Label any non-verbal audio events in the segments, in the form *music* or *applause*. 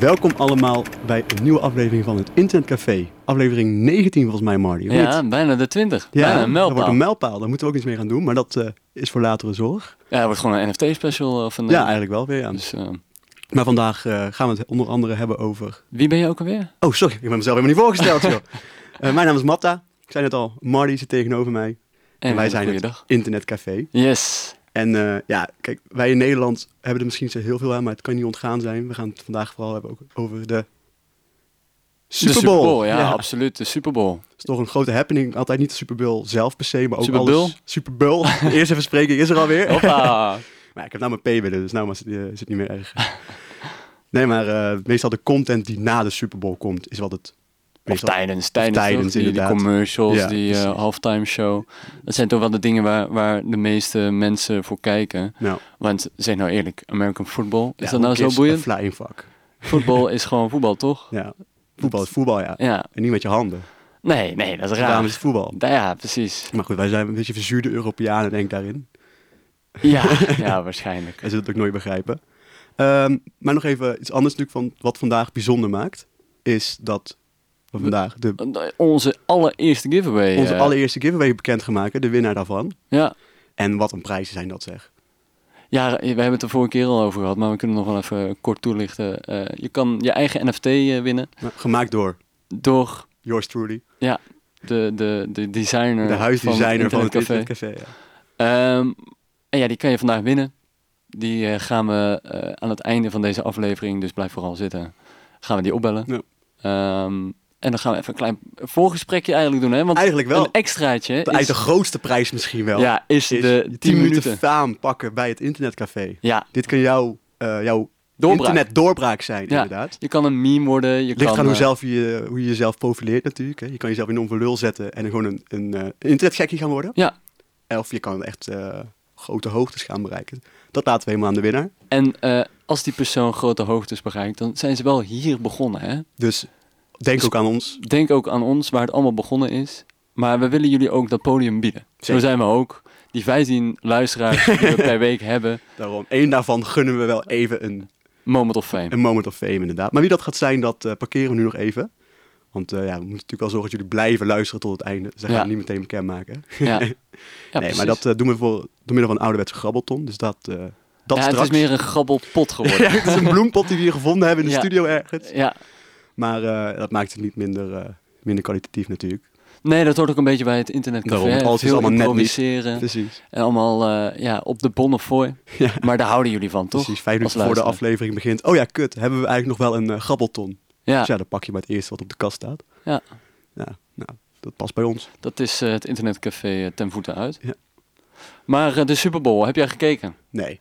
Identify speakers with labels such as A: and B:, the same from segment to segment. A: Welkom allemaal bij een nieuwe aflevering van het Internetcafé. Aflevering 19 volgens mij, Marty. of niet?
B: Ja, bijna de 20. bijna
A: dat
B: een
A: wordt
B: mijlpaal.
A: een mijlpaal. Daar moeten we ook iets mee gaan doen, maar dat eh, is voor latere zorg.
B: Ja, het wordt gewoon een NFT-special of een...
A: Ja, eigenlijk wel weer. Ja.
B: eh, Dus, eh,
A: Maar vandaag eh, gaan we het onder andere hebben over...
B: wie ben je ook alweer?
A: Oh, sorry, ik ben mezelf helemaal niet voorgesteld, joh.
B: *laughs*
A: Eh, mijn naam is Matta. Ik zei net al, Marty zit tegenover mij. En, wij zijn het
B: Goeiedag.
A: Internetcafé.
B: Yes.
A: En eh, ja, kijk, wij in Nederland hebben er misschien niet zo heel veel aan, maar het kan niet ontgaan zijn. We gaan het vandaag vooral hebben ook over de Super Bowl.
B: De Super Bowl, ja,
A: Het
B: absoluut. De Super
A: *laughs*
B: Bowl.
A: is toch een grote happening. Altijd niet de Super Bowl zelf per se, maar ook
B: Super Bowl?
A: alles. Super
B: *laughs*
A: Bowl. De eerste verspreking is er alweer.
B: Hoppa.
A: *laughs* Maar ik heb nou mijn P willen, dus nou maar, is het, eh, is het niet meer erg. Nee, maar eh, meestal de content die na de Super Bowl komt, is wat het...
B: of
A: meestal-
B: tijdens, tijdens,
A: tijdens,
B: toch? die, die
A: inderdaad.
B: commercials,
A: Ja,
B: die eh,
A: precies.
B: halftime show. Dat zijn toch wel de dingen waar, waar de meeste mensen voor kijken.
A: Nou,
B: Want zeg nou eerlijk, American football, is
A: ja,
B: dat
A: who
B: nou zo
A: gives a
B: boeiend?
A: Flying fuck. *laughs*
B: Voetbal is gewoon voetbal, toch?
A: Ja, voetbal is voetbal, ja.
B: Ja.
A: En niet met je handen.
B: Nee, nee, dat is
A: Daarom
B: raar.
A: is het voetbal.
B: Ja, precies.
A: Maar goed, wij zijn een beetje verzuurde Europeanen, denk ik, daarin.
B: Ja, *laughs* ja waarschijnlijk.
A: Hij zullen het ook nooit begrijpen. Ehm, maar nog even iets anders natuurlijk van wat vandaag bijzonder maakt. Is dat we vandaag de,
B: Onze allereerste giveaway.
A: onze
B: eh,
A: allereerste giveaway bekend gaan maken. De winnaar daarvan.
B: Ja.
A: En wat een prijzen zijn dat zeg.
B: ja, we hebben het er vorige keer al over gehad, maar we kunnen nog wel even kort toelichten. Eh, je kan je eigen NFT eh, winnen
A: Nou, gemaakt door
B: door
A: yours truly.
B: ja, de, de, de designer
A: De huisdesigner van het
B: Internetcafé.
A: Internetcafé. ja.
B: Ehm, en ja, die kan je vandaag winnen. Die eh, gaan we eh, aan het einde van deze aflevering, dus blijf vooral zitten, gaan we die opbellen.
A: Ja.
B: Ehm, en dan gaan we even een klein voorgesprekje eigenlijk doen, hè? Want
A: Eigenlijk wel.
B: een extraatje
A: De, eigenlijk
B: is,
A: de grootste prijs misschien wel.
B: ja, is,
A: is
B: de
A: 10,
B: 10
A: minuten
B: minuten.
A: faam pakken bij het Internetcafé.
B: Ja,
A: Dit kan jouw, eh jouw
B: doorbraak.
A: internet doorbraak zijn
B: Ja.
A: inderdaad.
B: Je kan een meme worden. Je
A: Het ligt
B: kan,
A: aan hoe,
B: eh,
A: zelf je, hoe je jezelf profileert natuurlijk. Hè. Je kan jezelf in onverlul zetten en gewoon een, een eh, een internetgekkie gaan worden.
B: Ja.
A: Of je kan echt eh, grote hoogtes gaan bereiken. Dat laten we helemaal aan de winnaar.
B: En eh, als die persoon grote hoogtes bereikt, dan zijn ze wel hier begonnen. Hè?
A: Dus denk
B: Dus-
A: ook aan ons.
B: Denk ook aan ons, waar het allemaal begonnen is. Maar we willen jullie ook dat podium bieden.
A: Zeker.
B: Zo zijn we ook. Die 15 luisteraars die we per week *laughs* hebben,
A: Daarom, één daarvan gunnen we wel even een,
B: moment of fame.
A: een moment of fame inderdaad. Maar wie dat gaat zijn, dat eh, parkeren we nu nog even. Want eh, ja, we moeten natuurlijk wel zorgen dat jullie blijven luisteren tot het einde. Ze gaan
B: Ja.
A: het niet meteen bekendmaken.
B: Ja.
A: *laughs*
B: Ja,
A: nee,
B: precies.
A: maar dat eh, doen we voor, door middel van een ouderwetse grabbelton. Dus dat, eh dat
B: ja,
A: straks.
B: het
A: *laughs*
B: is meer een grabbelpot geworden.
A: Ja, het is een bloempot die we hier gevonden hebben in de
B: Ja.
A: studio ergens.
B: ja.
A: Maar eh, dat maakt het niet minder, eh, minder kwalitatief natuurlijk.
B: Nee, dat hoort ook een beetje bij het internetcafé.
A: Daarom,
B: hè.
A: alles is
B: Veel
A: allemaal net niet.
B: improviseren
A: Precies.
B: en allemaal eh, ja, op de bonnefooi.
A: Ja.
B: Maar daar houden jullie van, toch?
A: Precies, vijf
B: Als
A: minuten voor de
B: luisteraar.
A: aflevering begint. Oh ja, kut, hebben we eigenlijk nog wel een eh, grabbelton.
B: Ja,
A: Dus ja, dan pak je maar het eerste wat op de kast staat.
B: Ja.
A: Ja, nou, dat past bij ons.
B: dat is eh, het internetcafé eh, ten voeten uit.
A: Ja.
B: Maar eh, de Super Bowl, heb jij gekeken?
A: Nee.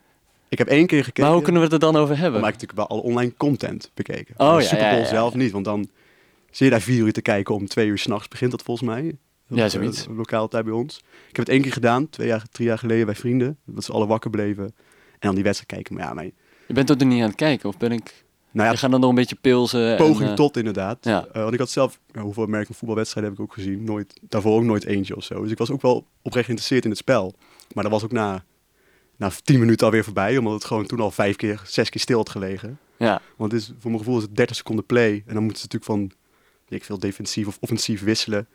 A: Ik heb één keer gekeken,
B: Maar hoe kunnen we het er dan over hebben?
A: maar ik heb natuurlijk wel alle online content bekeken.
B: Oh,
A: Maar de
B: ja,
A: Super Bowl
B: ja, ja,
A: zelf niet, want dan zit je daar vier uur te kijken om twee uur s'nachts begint dat volgens mij.
B: Ja,
A: Op,
B: zoiets.
A: eh, Lokaal tijd bij ons. Ik heb het één keer gedaan, twee jaar, drie jaar geleden bij vrienden. Dat ze alle wakker bleven. En dan die wedstrijd kijken. Maar ja, mijn,
B: Je bent toch er niet aan het kijken, of ben ik...
A: nou ja,
B: Je gaat dan nog een beetje pilsen en,
A: poging
B: eh,
A: tot inderdaad.
B: ja.
A: Eh, want ik had zelf, ja, hoeveel American voetbalwedstrijden heb ik ook gezien? Nooit, daarvoor ook nooit eentje of zo. Dus ik was ook wel oprecht geïnteresseerd in het spel. Maar dat was ook na, na tien minuten alweer voorbij. Omdat het gewoon toen al vijf keer, zes keer stil had gelegen.
B: Ja,
A: Want het is, voor mijn gevoel is het 30 seconden play. En dan moeten ze natuurlijk van, weet ik veel, defensief of offensief wisselen.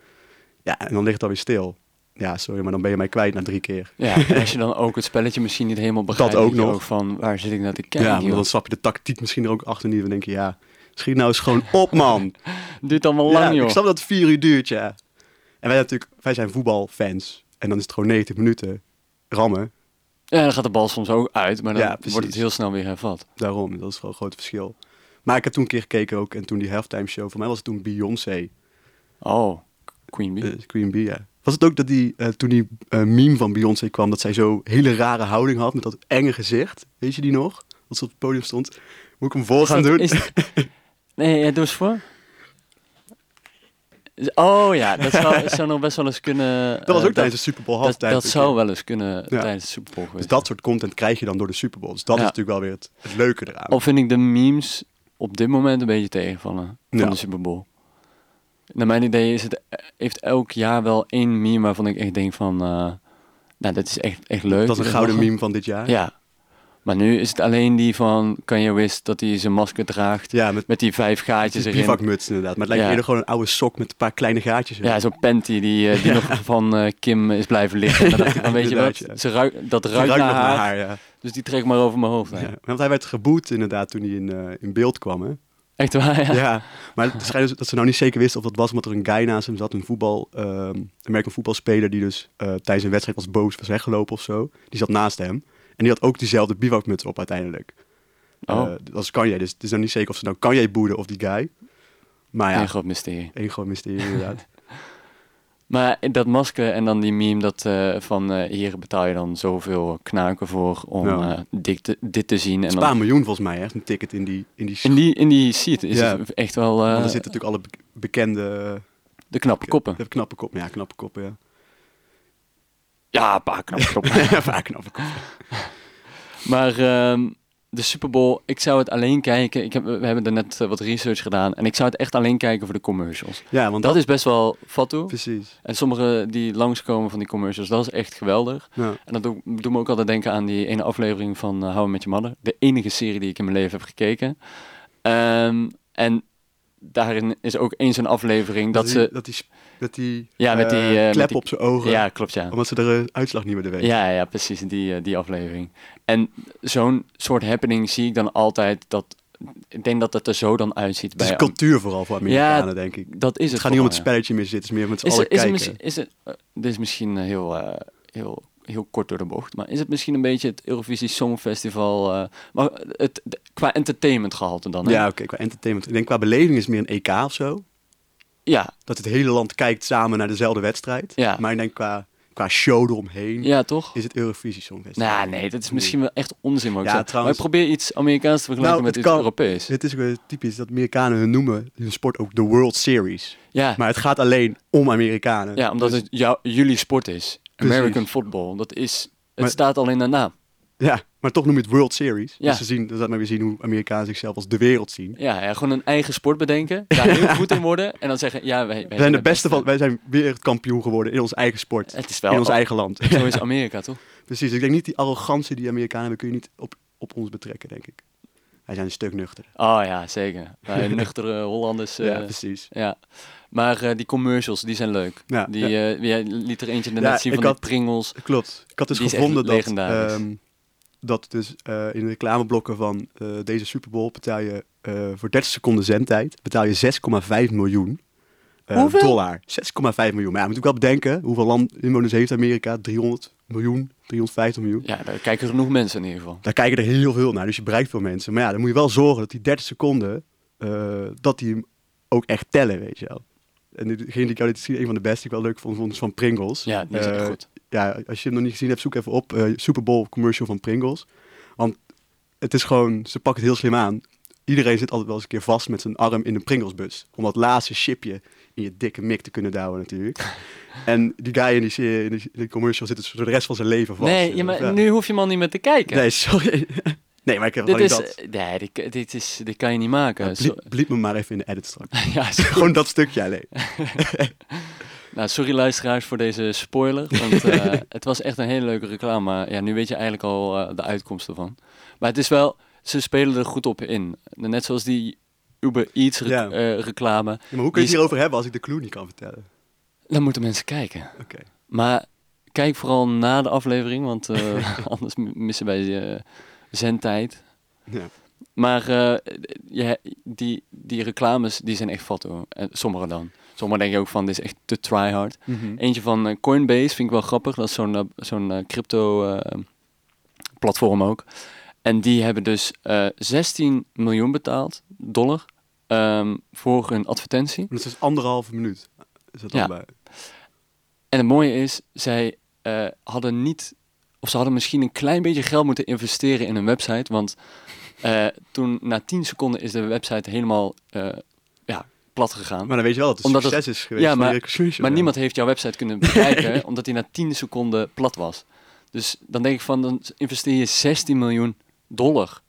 A: Ja, en dan ligt het alweer stil. Ja, sorry, maar dan ben je mij kwijt na drie keer.
B: ja.
A: *laughs*
B: en als je dan ook het spelletje misschien niet helemaal begrijpt...
A: ook
B: weet je
A: nog.
B: van, waar zit ik naar te
A: Ja,
B: kijken,
A: maar dan
B: joh?
A: snap je de tactiek misschien er ook achter niet. Dan denk je, ja, schiet nou eens gewoon op, man.
B: Duurt allemaal lang,
A: ja,
B: joh.
A: Ik snap dat het vier uur duurt, ja. En wij, natuurlijk, wij zijn voetbalfans. En dan is het gewoon 90 minuten rammen.
B: Ja, dan gaat de bal soms ook uit, maar dan
A: Ja, precies.
B: wordt het heel snel weer hervat.
A: Daarom, dat is gewoon een groot verschil. Maar ik heb toen een keer gekeken ook. En toen die halftime show, voor mij was het toen Beyoncé.
B: Oh, Queen Bee.
A: eh, Queen Bee, ja. Was het ook dat die, eh, toen die eh, meme van Beyoncé kwam, dat zij zo'n hele rare houding had met dat enge gezicht? Weet je die nog? Dat ze op het podium stond. Moet ik hem voor gaan
B: Is dat-
A: doen? *laughs*
B: is- Nee, ja, doe eens voor. Oh ja, dat
A: *laughs*
B: zou, zou nog best wel eens kunnen...
A: dat was ook tijdens
B: tijdens
A: de Super Bowl
B: eh, Dat,
A: halftime.
B: dat zou wel eens kunnen
A: Ja.
B: tijdens de Super Bowl
A: Dus
B: geweest.
A: dat soort content krijg je dan door de Super Bowl. Dus dat
B: Ja.
A: is natuurlijk wel weer het, het leuke eraan.
B: Of vind ik de memes op dit moment een beetje tegenvallen van
A: Ja.
B: de Super Bowl. Naar mijn idee is het, heeft elk jaar wel één meme waarvan ik echt denk van, eh, nou, dat is echt, echt leuk.
A: dat is een gouden meme van dit jaar.
B: Ja. Maar nu is het alleen die van Kanye West dat hij zijn masker draagt.
A: Ja, met
B: Met die vijf gaatjes
A: die
B: erin.
A: bivakmuts inderdaad. Maar het lijkt
B: Ja.
A: eerder gewoon een oude sok met een paar kleine gaatjes. in.
B: Ja, zo'n panty die, eh, die nog van eh, Kim is blijven liggen. En dan
A: *laughs*
B: dacht ik, dan weet je wat,
A: inderdaad, ja.
B: ze ruikt- dat
A: Die
B: ruikt, naar
A: nog
B: haar,
A: ja.
B: Dus die trek ik maar over mijn hoofd. heen.
A: Ja, Want hij werd geboet inderdaad toen hij in, eh, in beeld kwam. Hè?
B: Echt waar, ja.
A: Ja. Maar het schijnt dus dat ze nou niet zeker wisten of dat was omdat er een guy naast hem zat. Een voetbal, ehm American voetbalspeler die dus eh, tijdens een wedstrijd was boos, was weggelopen of zo. Die zat naast hem. En die had ook diezelfde bivakmuts op uiteindelijk.
B: Oh.
A: Eh, dat is Kanye. Dus het is nou niet zeker of ze nou Kanye boeden of die guy. Maar ja,
B: Een groot mysterie.
A: één groot mysterie
B: *laughs*
A: inderdaad.
B: Maar dat masker en dan die meme dat eh, van eh, hier betaal je dan zoveel knaken voor om
A: Ja.
B: eh, dit, te, dit te
A: Het
B: zien. En
A: is een paar
B: dan,
A: miljoen volgens mij, hè, een ticket in die, in die
B: in, die, in die seat is
A: Ja.
B: het echt wel eh,
A: Want er zitten natuurlijk alle be- bekende...
B: de knappe koppen.
A: De knappe koppen, ja, knappe koppen, ja.
B: Ja, een paar knappe koppen.
A: *laughs* Vaak knappe koppen.
B: *laughs* Maar ehm, de Super Bowl, ik zou het alleen kijken. Ik heb, we hebben er net eh, wat research gedaan. En ik zou het echt alleen kijken voor de commercials.
A: Ja, want
B: Dat is best wel fatsoen.
A: Precies.
B: En sommige die langskomen van die commercials, dat is echt geweldig.
A: Ja.
B: En dat doe- doet me ook altijd denken aan die ene aflevering van eh, How I Met Your Mother. De enige serie die ik in mijn leven heb gekeken. Ehm, en daarin is ook eens een aflevering dat,
A: Dat,
B: ze...
A: die, dat die... sp- Dat die
B: Ja, met die,
A: eh,
B: eh, met
A: klep
B: die-
A: op zijn ogen.
B: ja, klopt ja.
A: Omdat ze de eh, uitslag niet meer weten.
B: Ja, ja, precies, die, eh, die aflevering. En zo'n soort happening zie ik dan altijd dat... Ik denk dat het er zo dan uitziet
A: Dus Het is
B: bij...
A: cultuur vooral voor Amerikanen, denk ik.
B: dat is het.
A: Het gaat niet om het
B: vooral,
A: spelletje meer zitten, het is meer met z'n
B: ja. Is,
A: allen
B: er, is, er
A: kijken.
B: misschien, is het... eh, dit is misschien eh, heel, eh, heel, heel kort door de bocht, maar is het misschien een beetje het Eurovisie Songfestival... eh, maar het, de- qua entertainment gehalte dan, hè?
A: Ja, oké, qua entertainment. Ik denk qua beleving is het meer een EK of zo.
B: Ja,
A: Dat het hele land kijkt samen naar dezelfde wedstrijd.
B: Ja.
A: Maar ik denk qua, qua show eromheen
B: ja, toch?
A: is het Eurovisie Songfestival.
B: Nou, nee, dat is misschien wel echt onzin wat ik
A: Ja,
B: zeg.
A: trouwens-
B: Maar ik probeer iets Amerikaans te vergelijken
A: Nou,
B: met
A: het
B: iets
A: kan-
B: Europees.
A: Het is ook weer typisch dat Amerikanen hun noemen hun sport ook de World Series.
B: Ja,
A: Maar het gaat alleen om Amerikanen.
B: Ja, omdat
A: Dus-
B: het jou, jullie sport is. American
A: Precies.
B: football. Dat is, het
A: Maar-
B: staat al in de naam.
A: Ja, maar toch noem je het World Series.
B: Ja.
A: Dus ze zien, dan laat maar weer zien hoe Amerikanen zichzelf als de wereld zien.
B: Ja, ja, gewoon een eigen sport bedenken. Daar
A: *laughs*
B: heel goed in worden. En dan zeggen, ja, wij, wij
A: We zijn de beste van, wij zijn wereldkampioen geworden in ons eigen sport.
B: Het is wel,
A: in ons eigen land.
B: zo is Amerika, toch?
A: *laughs* Precies, ik denk niet die arrogantie die Amerikanen hebben, kun je niet op, op ons betrekken, denk ik. Wij zijn een stuk nuchter.
B: Oh ja,
A: *laughs*
B: zeker. Wij nuchtere Hollanders. eh,
A: ja,
B: ja,
A: precies.
B: Maar eh, die commercials, die zijn leuk.
A: Ja,
B: Die,
A: ja,
B: eh, jij liet er eentje net
A: Ja,
B: zien
A: ik
B: van die
A: had-
B: pringels.
A: klopt. Ik had dus
B: die is echt
A: gevonden dat,
B: legendarisch.
A: ehm, dat dus eh, in de reclameblokken van eh, deze Super Bowl betaal je eh, voor 30 seconden zendtijd betaal je 6,5 miljoen eh,
B: Hoeveel?
A: dollar. 6,5 miljoen. Maar ja, moet ik wel bedenken hoeveel land inwoners heeft Amerika? 300 miljoen, 350 miljoen.
B: Ja, daar kijken genoeg mensen in ieder geval.
A: Daar kijken er heel veel naar, dus je bereikt veel mensen. Maar ja, dan moet je wel zorgen dat die 30 seconden, eh, dat die hem ook echt tellen, weet je wel. En degene die ik jou liet zien, een van de beste, die ik wel leuk vond, vond is van Pringles.
B: Ja, die is echt
A: Eh,
B: goed.
A: Ja, als je hem nog niet gezien hebt, zoek even op eh Super Bowl commercial van Pringles. Want het is gewoon, ze pakken het heel slim aan. Iedereen zit altijd wel eens een keer vast met zijn arm in de Pringlesbus. Om dat laatste chipje in je dikke mik te kunnen douwen
B: *laughs*
A: natuurlijk. en die guy in die, serie- in die, in die commercial zit dus voor de rest van zijn leven vast.
B: nee, ja, maar
A: eh, Ja.
B: nu hoef je man niet meer te kijken.
A: Nee, sorry. *laughs* Nee, maar ik heb
B: dit,
A: alleen
B: is,
A: dat.
B: eh, nee dit, dit, is, dit kan je niet maken.
A: Ja,
B: Zo-
A: bliep, bliep me maar even in de edit straks. *laughs*
B: *laughs* ja, zo-
A: Gewoon dat stukje
B: *laughs*
A: alleen.
B: Nou, sorry luisteraars voor deze spoiler,
A: *laughs*
B: want eh, het was echt een hele leuke reclame. Maar ja, nu weet je eigenlijk al eh, de uitkomst ervan. Maar het is wel, ze spelen er goed op in. Net zoals die Uber Eats rec-
A: Ja.
B: eh, reclame.
A: Ja, maar hoe kun je
B: Die-
A: het hierover hebben als ik de clue niet kan vertellen?
B: Dan moeten mensen kijken.
A: Oké.
B: Maar kijk vooral na de aflevering, want eh, anders m- missen wij je zendtijd.
A: Ja.
B: Maar eh, je- die, die reclames, die zijn echt fat hoor. Eh, Sommige dan. Sommige denk je ook van, dit is echt te tryhard. Eentje van eh, Coinbase vind ik wel grappig. Dat is zo'n eh, zo'n eh, crypto eh, platform ook. En die hebben dus eh, 16 miljoen betaald, dollar, ehm, voor hun advertentie.
A: Dat is dus anderhalve minuut. Is dat dan
B: Ja.
A: bij?
B: En het mooie is, zij eh, hadden niet, of ze hadden misschien een klein beetje geld moeten investeren in hun website. Want eh, toen, na 10 seconden, is de website helemaal eh, ja, plat gegaan.
A: Maar dan weet je wel dat het
B: Omdat
A: succes is geweest.
B: Ja,
A: van
B: maar-
A: die commercial,
B: Maar
A: ja.
B: niemand heeft jouw website
A: *laughs*
B: kunnen bekijken, omdat die na 10 seconden plat was. Dus dan denk ik van, dan investeer je 16 miljoen dollar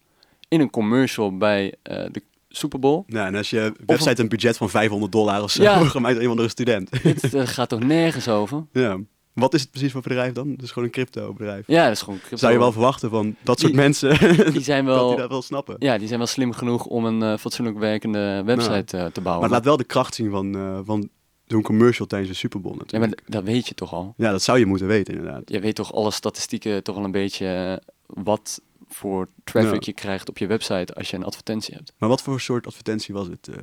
B: in een commercial bij eh, de Super
A: *laughs*
B: Bowl.
A: Ja, en als je website een budget van 500 dollar of zo *laughs*
B: Ja.
A: gemaakt door een of andere student. *laughs*
B: Dit eh, gaat toch nergens over?
A: ja. Wat is het precies voor bedrijf dan? Het is gewoon een crypto-bedrijf.
B: Ja, dat is gewoon crypto.
A: Zou je wel verwachten van dat soort
B: Die-
A: mensen, *laughs*
B: die zijn
A: dat die
B: wel,
A: dat wel snappen.
B: ja, die zijn wel slim genoeg om een eh, fatsoenlijk werkende website eh, te bouwen.
A: Maar het laat wel de kracht zien van, eh van zo'n commercial tijdens de Super Bowl
B: ja,
A: natuurlijk.
B: maar d- dat weet je toch al.
A: Ja, dat zou je moeten weten inderdaad.
B: Je weet toch alle statistieken toch wel een beetje eh, wat voor traffic
A: Ja.
B: je krijgt op je website als je een advertentie hebt.
A: Maar wat voor soort advertentie was het? eh?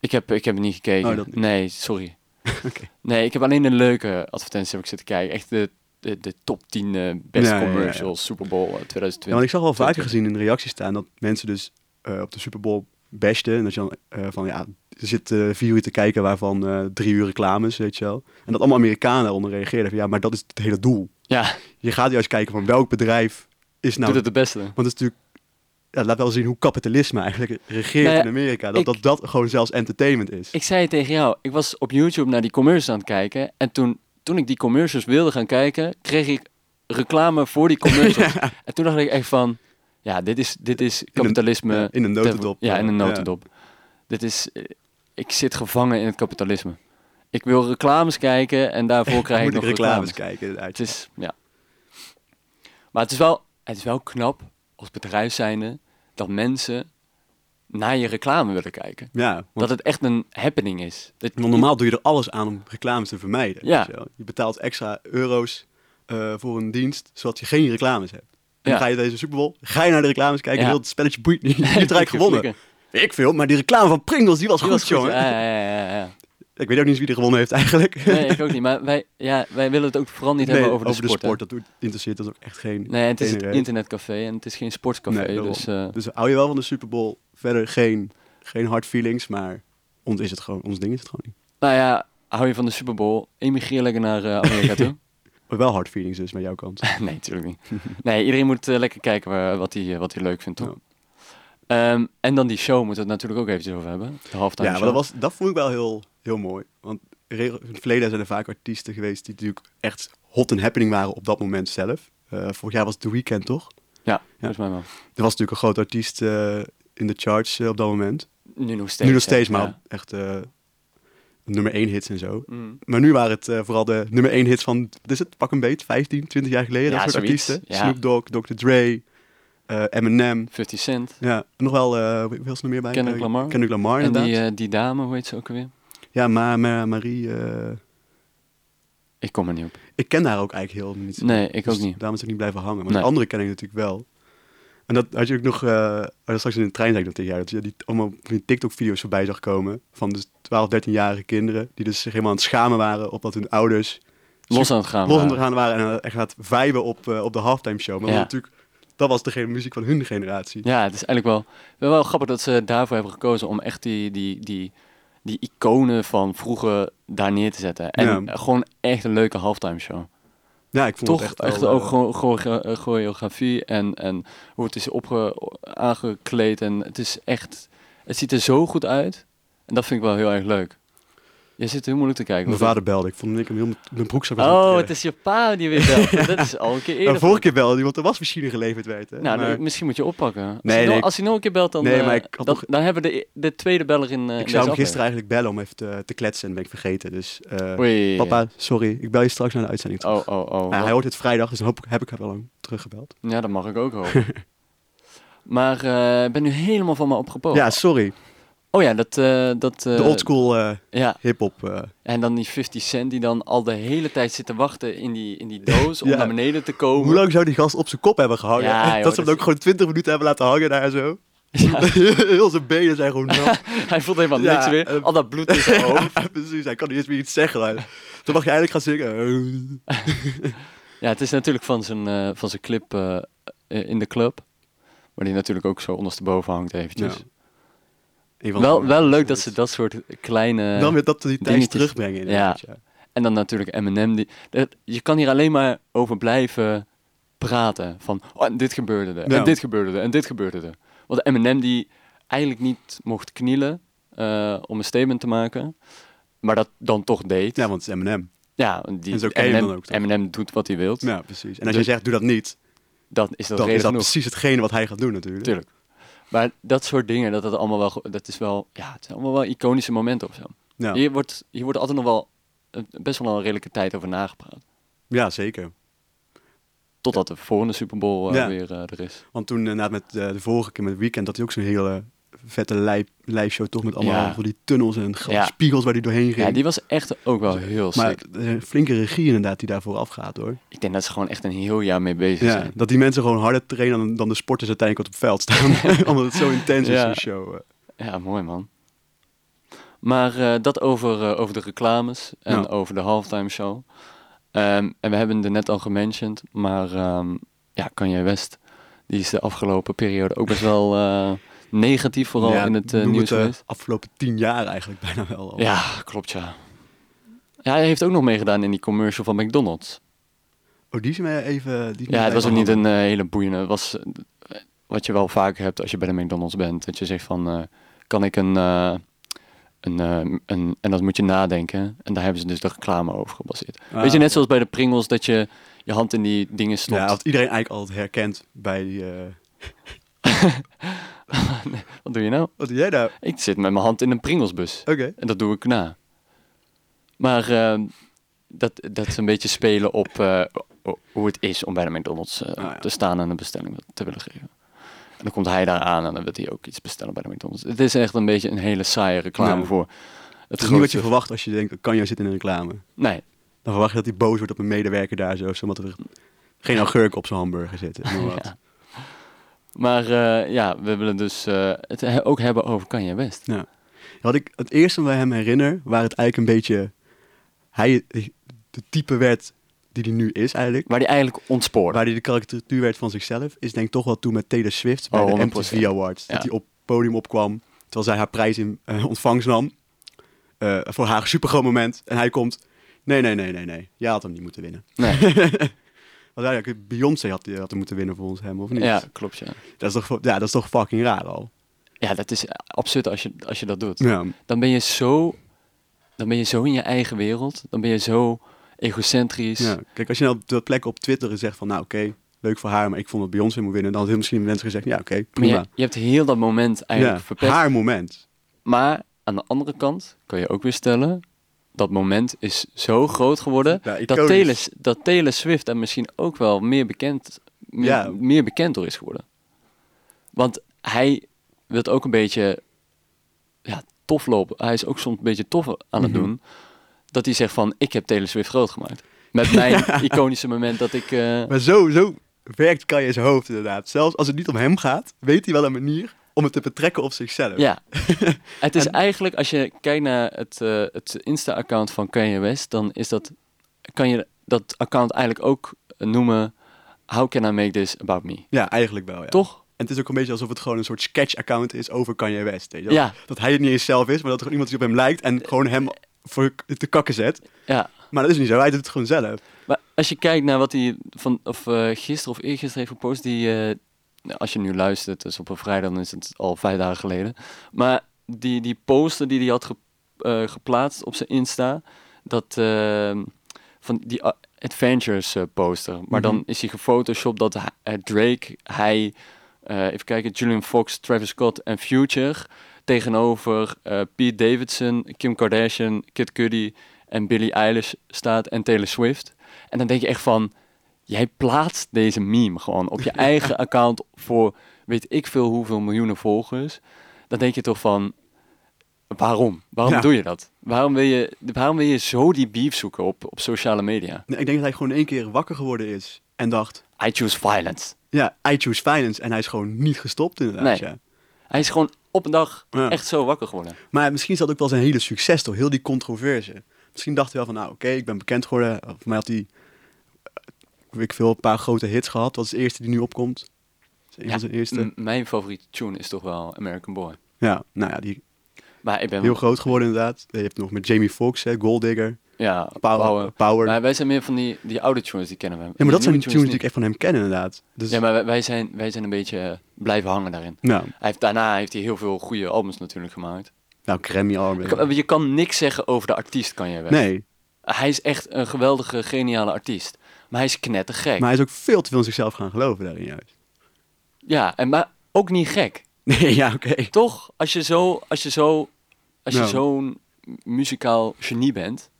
B: Ik heb, ik heb niet gekeken.
A: Oh, dat niet.
B: Nee, sorry.
A: *laughs* Oké.
B: Nee, ik heb alleen een leuke advertentie heb ik zitten kijken. Echt de, de, de top 10 eh, best
A: Ja, ja, ja.
B: commercials Super Bowl eh,
A: Ja, want
B: 2020.
A: ik zag al vaker
B: 20.
A: gezien in de reacties staan dat mensen dus eh, op de Super Bowl bashten. En dat je dan eh, van, ja, er zitten vier uur te kijken waarvan eh, drie uur reclames, weet je wel. En dat allemaal Amerikanen daaronder reageerden van, ja, maar dat is het hele doel.
B: Ja,
A: Je gaat juist kijken van welk bedrijf is nou...
B: doet het de beste.
A: Want het is natuurlijk... Ja, het laat wel zien hoe kapitalisme eigenlijk regeert
B: Nou ja,
A: in Amerika. Dat,
B: ik-
A: dat dat gewoon zelfs entertainment is.
B: Ik zei het tegen jou, ik was op YouTube naar die commercials aan het kijken. En toen, toen ik die commercials wilde gaan kijken, kreeg ik reclame voor die
A: *laughs*
B: commercials. En toen dacht ik echt van, ja, dit is, dit is kapitalisme.
A: ja, in een
B: ter-
A: notendop,
B: Ja,
A: eh,
B: in een
A: ja.
B: notendop. Dit is, eh, ik zit gevangen in het kapitalisme. Ik wil reclames kijken en
A: *laughs*
B: daarvoor krijg ik
A: Moet
B: nog
A: ik reclames kijken.
B: Het
A: uit.
B: is, ja. Maar het is wel, het is wel knap als bedrijf zijnde dat mensen naar je reclame willen kijken.
A: Ja, want,
B: Dat het echt een happening is. Dat-
A: want normaal doe je er alles aan om reclames te vermijden.
B: Ja.
A: weet je, wel. je betaalt extra euro's eh, voor een dienst, zodat je geen reclames hebt. En
B: Ja.
A: Dan ga je deze Super Bowl, ga je naar de reclames kijken,
B: Ja.
A: heel het spelletje boeit
B: *laughs*
A: niet. Je hebt eigenlijk gewonnen.
B: Flikken.
A: Ik veel, maar die reclame van Pringles, die was
B: Die
A: goed,
B: was goed,
A: jongen.
B: Ja, ja, ja, ja, ja.
A: Ik weet ook niet eens wie er gewonnen heeft eigenlijk. *laughs*
B: Nee, ik ook niet. Maar wij, ja, wij willen het ook vooral niet hebben over de sport. hè.
A: dat doet, interesseert ons ook echt geen
B: Nee, het is
A: ene
B: een
A: reet.
B: internetcafé en het is geen sportcafé.
A: Nee, daarom.
B: dus eh,
A: Dus hou je wel van de Super Bowl, verder geen, geen hard feelings, maar ons, is het gewoon, ons ding is het gewoon niet.
B: nou ja, hou je van de Super Bowl? Emigreer lekker naar eh, Amerika
A: *laughs*
B: toe. *laughs*
A: Maar wel hard feelings dus, met jouw kant.
B: nee, natuurlijk niet. Nee, iedereen moet eh, lekker kijken waar- wat hij eh, wat hij leuk vindt, toch?
A: Ja.
B: Ehm, en dan die show moeten we het natuurlijk ook eventjes over hebben. De halftime
A: Ja, maar
B: show.
A: dat, was, dat vond ik wel heel, heel mooi. Want regel- in het verleden zijn er vaak artiesten geweest die natuurlijk echt hot and happening waren op dat moment zelf. Eh, vorig jaar was The Weeknd, toch?
B: Ja, volgens mij wel.
A: Er was natuurlijk een groot artiest eh, in de charts eh, op dat moment.
B: Nu nog steeds.
A: nu nog steeds,
B: hè,
A: maar
B: ja.
A: echt eh, nummer 1 hits en zo.
B: Mm.
A: Maar nu waren het eh, vooral de nummer 1 hits van, wat is het, pak een beet, 15, 20 jaar geleden.
B: Ja,
A: dat soort
B: zoiets,
A: artiesten.
B: ja.
A: Snoop Dogg, Dr. Dre, eh, Eminem.
B: 50 Cent.
A: Ja, en nog wel, eh wie wie was er nog meer bij?
B: Kendrick
A: Eh,
B: Lamar.
A: Kendrick Lamar,
B: en
A: inderdaad.
B: die, eh, die dame, hoe heet ze ook alweer?
A: Ja, Ma Ma- Marie... eh,
B: Ik kom er niet op.
A: Ik ken haar ook eigenlijk heel niet.
B: Nee, ik
A: Dus
B: ook niet.
A: Daarom is ik niet blijven hangen. Maar
B: Nee.
A: de andere ken ik natuurlijk wel. En dat had je ook nog... eh, oh, straks in de trein zei ik dat tegen jou. Dat je die allemaal van die TikTok-video's voorbij zag komen. Van dus 12, 13-jarige kinderen. Die dus zich helemaal aan het schamen waren op dat hun ouders...
B: Los aan het gaan. eh,
A: los
B: waren.
A: ondergaan waren. En echt aan het vijben op, eh, op de halftime show. Maar
B: Ja.
A: dat natuurlijk... Dat was de muziek van hun generatie.
B: Ja, het is eigenlijk wel, wel, wel grappig dat ze daarvoor hebben gekozen om echt die, die, die, die iconen van vroeger daar neer te zetten. En
A: Ja.
B: eh, gewoon echt een leuke halftime show.
A: Ja, ik vond
B: Toch
A: het
B: echt,
A: echt, wel, eh,
B: ook gewoon choreo- eh, choreografie en, en hoe het is opge, aangekleed. En het is echt, het ziet er zo goed uit. En dat vind ik wel heel erg leuk. Je zit heel moeilijk te kijken.
A: Mijn
B: hoor.
A: vader belde. Ik vond dat ik hem heel met mijn broek zou
B: Oh, het is je pa die weer belt.
A: *laughs*
B: Dat is al een keer eerder.
A: eh, vorige keer belde hij, want er was machine geleverd werd. Hè?
B: Nou,
A: Eh, Maar-
B: dan- misschien moet je oppakken. Als,
A: Nee,
B: hij nog,
A: nee, ik-
B: als hij nog een keer belt, dan,
A: Nee,
B: eh,
A: maar ik had
B: dan,
A: nog-
B: dan hebben we de, de tweede beller in. eh, in
A: Ik zou
B: deze
A: hem
B: aflevering.
A: gisteren eigenlijk bellen om even te, te kletsen en ben ik vergeten. Dus eh,
B: Oei.
A: papa, sorry, ik bel je straks naar de uitzending terug.
B: Oh, oh, oh.
A: Maar hij hoort het vrijdag, dus dan hoop ik- heb ik hem al lang teruggebeld.
B: Ja, dat mag ik ook hopen.
A: *laughs*
B: maar eh, ik ben nu helemaal van me opgepoogd.
A: Ja, sorry.
B: Oh ja, dat... eh dat eh,
A: De oldschool eh
B: Ja,
A: hip-hop. eh.
B: en dan die 50 cent die dan al de hele tijd zit te wachten in die, in die
A: *laughs*
B: doos om
A: Ja.
B: naar beneden te komen.
A: Hoe lang zou die gast op zijn kop hebben gehangen? *laughs*
B: Ja,
A: dat
B: joh,
A: ze
B: dat
A: hem ook
B: is-
A: gewoon 20 minuten hebben laten hangen daar zo.
B: Ja,
A: *laughs* Heel zijn benen zijn gewoon
B: *laughs*
A: nat.
B: *laughs* hij voelt helemaal
A: Ja,
B: niks meer.
A: eh,
B: Al dat bloed in
A: *laughs*
B: zijn hoofd.
A: Ja, precies, hij kan niet eens meer iets zeggen. maar Toen mag je eigenlijk gaan zingen.
B: Ja, het is natuurlijk van zijn, eh, van zijn clip eh, eh, in de club. Waar die natuurlijk ook zo ondersteboven hangt eventjes.
A: Ja. Een van de
B: Wel,
A: vorige
B: wel
A: mensen
B: leuk dat ze dat soort kleine...
A: Dan weer dat die tijd
B: dingetjes-
A: terugbrengen inderdaad. Ja.
B: En dan natuurlijk Eminem. Die, dat- je kan hier alleen maar over blijven praten. Van, oh, en dit gebeurde er,
A: Ja.
B: en dit gebeurde er, en dit gebeurde er. Want Eminem die eigenlijk niet mocht knielen eh, om een statement te maken. Maar dat dan toch deed.
A: Ja, want het is Eminem.
B: Ja, want die,
A: En zo ken je hem
B: Eminem,
A: dan ook, toch?
B: Eminem doet wat hij wil.
A: Ja, precies. En als
B: Dus-
A: je zegt, doe dat niet,
B: Dat is
A: dan
B: dat reden
A: is dat
B: genoeg.
A: precies hetgene wat hij gaat doen natuurlijk.
B: Tuurlijk. Maar dat soort dingen, dat, dat, allemaal wel, ge- dat is wel, ja, het zijn allemaal wel iconische momenten of zo.
A: Ja.
B: Hier, wordt, hier wordt altijd nog wel eh, best wel een redelijke tijd over nagepraat.
A: Ja, zeker.
B: Totdat de volgende Super Bowl eh,
A: Ja.
B: weer eh, er is.
A: Want toen inderdaad met eh, de vorige keer met het weekend, dat hij ook zo'n hele eh, vette lijp, lijpshow toch met allemaal
B: Ja.
A: van die tunnels en grote
B: Ja.
A: spiegels waar hij doorheen ging.
B: Ja, die was echt ook wel heel
A: maar
B: sick.
A: het is een flinke regie inderdaad die daarvoor afgaat hoor.
B: Ik denk dat ze gewoon echt een heel jaar mee bezig
A: Ja,
B: zijn.
A: dat die mensen gewoon harder trainen dan, dan de sporters uiteindelijk wat op het veld
B: *laughs*
A: staan. *laughs* Omdat het zo intens is,
B: Ja.
A: zo'n show. eh.
B: Ja, mooi man. Maar eh, dat over, eh, over de reclames en
A: Nou.
B: over de halftime show. Ehm, en we hebben het er net al gementiond, maar ehm ja, Kanye West, die is de afgelopen periode ook best wel eh, negatief vooral
A: Ja,
B: in het eh,
A: noem
B: nieuws
A: eh,
B: geweest.
A: afgelopen tien jaar eigenlijk *laughs* bijna wel al.
B: Ja, klopt ja. Ja, hij heeft ook nog meegedaan in die commercial van McDonald's.
A: Oh, die is mij even... Die is
B: Ja,
A: mij
B: het was ook
A: even
B: niet een
A: handig.
B: eh, hele boeiende. Het was eh, wat je wel vaak hebt als je bij de McDonald's bent. Dat je zegt van, eh, kan ik een, eh, een, eh, een... En dat moet je nadenken. En daar hebben ze dus de reclame over gebaseerd.
A: Ah,
B: Weet je, net zoals bij de Pringles, dat je je hand in die dingen stopt.
A: Ja, had iedereen eigenlijk altijd herkend bij... die, eh,
B: Wat doe je nou?
A: wat doe jij nou?
B: Ik zit met mijn hand in een Pringlesbus.
A: Oké.
B: En dat doe ik na. Maar eh, dat, dat is een beetje spelen op eh, ho- hoe het is om bij de McDonald's eh,
A: Ah, ja.
B: te staan en een bestelling te willen geven. En dan komt hij daar aan en dan wil hij ook iets bestellen bij de McDonald's. Het is echt een beetje een hele saaie reclame
A: Ja.
B: voor het
A: Het is niet wat je
B: grootste...
A: verwacht als je denkt, kan jij zitten in een reclame?
B: Nee,
A: Dan verwacht je dat hij boos wordt op een medewerker daar zo, zodat er geen augurk op zijn hamburger zit.
B: *laughs*
A: maar wat.
B: Ja. maar eh, ja, we willen dus eh, het he- ook hebben over Kanye West.
A: Wat ik het eerste bij hem herinner, waar het eigenlijk een beetje... Hij de type werd die hij nu is eigenlijk.
B: Waar die eigenlijk ontspoort.
A: Waar hij de karikatuur werd van zichzelf, is denk ik toch wel toen met Taylor Swift bij
B: Oh,
A: de
B: 100%.
A: MTV Awards.
B: Ja.
A: Dat hij op het podium opkwam, terwijl zij haar prijs in eh, ontvangst nam. eh, voor haar supergroot moment. En hij komt, nee, nee, nee, nee, nee. Jij had hem niet moeten winnen.
B: Nee.
A: *laughs* Want eigenlijk, Beyoncé had, eh, had hem moeten winnen volgens hem, of niet?
B: ja, klopt ja.
A: Dat, is toch, ja, dat is toch fucking raar al.
B: Ja, dat is absurd als je, als je dat doet.
A: Ja.
B: dan ben je zo, dan ben je zo in je eigen wereld. Dan ben je zo egocentrisch.
A: Ja. Kijk, als je nou op de plek op Twitter zegt van, nou oké, leuk voor haar, maar ik vond dat Beyoncé moet winnen. Dan hadden misschien mensen gezegd, ja oké,
B: Maar je,
A: prima.
B: je hebt heel dat moment eigenlijk
A: Ja,
B: verpest.
A: haar moment.
B: Maar aan de andere kant kan je ook weer stellen... dat moment is zo groot geworden...
A: Ja,
B: dat
A: iconisch.
B: Taylor, dat Taylor Swift er misschien ook wel meer bekend, meer,
A: Ja.
B: meer bekend door is geworden. Want hij wil ook een beetje ja, tof lopen. Hij is ook soms een beetje tof aan het
A: Mhm.
B: doen. Dat hij zegt van, ik heb Taylor Swift groot gemaakt. Met mijn
A: *laughs*
B: iconische moment dat ik... eh,
A: Maar zo, zo werkt kan je in zijn hoofd inderdaad. Zelfs als het niet om hem gaat, weet hij wel een manier om het te betrekken op zichzelf.
B: Ja. het is eigenlijk, als je kijkt naar het, eh, het Insta-account van Kanye West, dan is dat, kan je dat account eigenlijk ook noemen How Can I Make This About Me?
A: Ja, eigenlijk wel. Ja.
B: Toch?
A: En het is ook een beetje alsof het gewoon een soort sketch-account is over Kanye West. Weet je? wel?
B: Ja.
A: Dat hij het niet eens zelf is, maar dat er gewoon iemand die op hem lijkt en gewoon hem voor te kakken zet.
B: Ja.
A: Maar dat is niet zo, hij doet het gewoon zelf.
B: Maar als je kijkt naar wat hij van, of, eh, gisteren of eergisteren heeft gepost, die, eh, nou, als je nu luistert, dus op een vrijdag, dan is het al vijf dagen geleden. Maar die, die poster die hij had ge- eh, geplaatst op zijn Insta, dat eh, van die a- Adventures eh, poster. Maar dan is hij gefotoshopt dat hij- eh, Drake, hij, eh, even kijken, Julian Fox, Travis Scott en Future tegenover eh, Pete Davidson, Kim Kardashian, Kid Cudi en Billie Eilish staat en Taylor Swift. En dan denk je echt van, jij plaatst deze meme gewoon
A: *laughs*
B: op je eigen account voor weet ik veel hoeveel miljoenen volgers. Dan denk je toch van, waarom? Waarom
A: Ja.
B: doe je dat? Waarom wil je, waarom wil je zo die beef zoeken op, op sociale media?
A: Nee, Ik denk dat hij gewoon in één keer wakker geworden is en dacht,
B: I choose violence.
A: ja, I choose finance. En hij is gewoon niet gestopt inderdaad.
B: Nee.
A: Ja.
B: Hij is gewoon op een dag
A: Ja.
B: echt zo wakker geworden.
A: Maar misschien zat ook wel zijn hele succes door heel die controverse. Misschien dacht hij wel van, nou oké, ik ben bekend geworden. Voor mij had hij, eh, weet ik veel, een paar grote hits gehad. Dat is de eerste die nu opkomt. Dat is een van zijn eerste.
B: m- mijn favoriete tune is toch wel American Boy.
A: Ja, nou ja, die
B: Maar ik ben
A: heel groot geworden inderdaad. Eh, Je hebt nog met Jamie Foxx, hè, Gold Digger,
B: ja,
A: Power.
B: power.
A: Power.
B: Maar wij zijn meer van die, die oude tunes, die kennen we.
A: ja, maar dat zijn
B: nieuwe
A: de tunes die ik
B: niet.
A: echt van hem ken inderdaad. Dus,
B: Ja, maar wij, wij zijn, wij zijn een beetje eh, blijven hangen daarin.
A: nou,
B: Hij heeft, daarna heeft hij heel veel goede albums natuurlijk gemaakt.
A: nou, Grammy Arm.
B: Ik- Je kan niks zeggen over de artiest, kan je wel.
A: Nee,
B: Hij is echt een geweldige, geniale artiest. Maar hij is knettergek.
A: maar hij is ook veel te veel in zichzelf gaan geloven daarin juist. *laughs*
B: Ja, en, maar ook niet gek.
A: Nee, ja, oké.
B: Toch, als je zo, als je zo, als je
A: Nou.
B: zo'n muzikaal genie bent,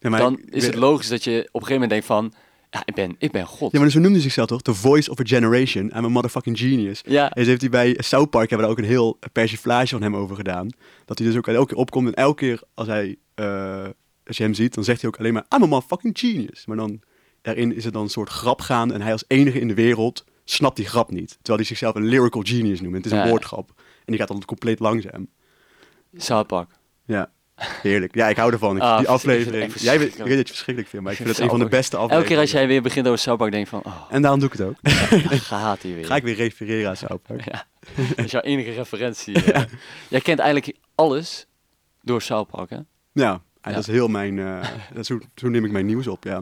A: Ja, maar
B: dan
A: ik-
B: is het logisch dat je op een gegeven moment denkt van, ja, ik ben, ik ben God.
A: Ja, maar dus zo noemde hij zichzelf toch? The voice of a generation. I'm a motherfucking genius.
B: Ja.
A: En ze heeft hij bij South Park hebben we daar ook een heel persiflage van hem over gedaan. Dat hij dus ook elke keer opkomt en elke keer als hij eh, als je hem ziet, dan zegt hij ook alleen maar I'm a motherfucking genius. Maar dan daarin is het dan een soort grap gaan en hij als enige in de wereld snapt die grap niet. Terwijl hij zichzelf een lyrical genius noemt. Het is
B: Ja.
A: een woordgrap. En die gaat dan compleet langzaam.
B: South Park.
A: Ja. Heerlijk. Ja, ik hou ervan. Ik-
B: Ah,
A: die
B: ik vind het
A: aflevering.
B: echt
A: Jij weet, ik
B: verschrikkelijk.
A: weet dat je het verschrikkelijk vindt, maar ik vind het een van de
B: Elke-
A: beste afleveringen.
B: Elke keer als jij weer begint over South Park, denk ik van,
A: *laughs*
B: oh,
A: En daarom doe ik het ook.
B: daar gaat hij weer.
A: Ga ik weer refereren aan South Park.
B: *laughs* Ja, dat is jouw enige
A: *laughs*
B: referentie. eh. Jij kent eigenlijk alles door South Park, hè?
A: Ja, en
B: Ja.
A: dat is heel mijn. eh,
B: *laughs*
A: dat is hoe, zo neem ik mijn nieuws op. Ja.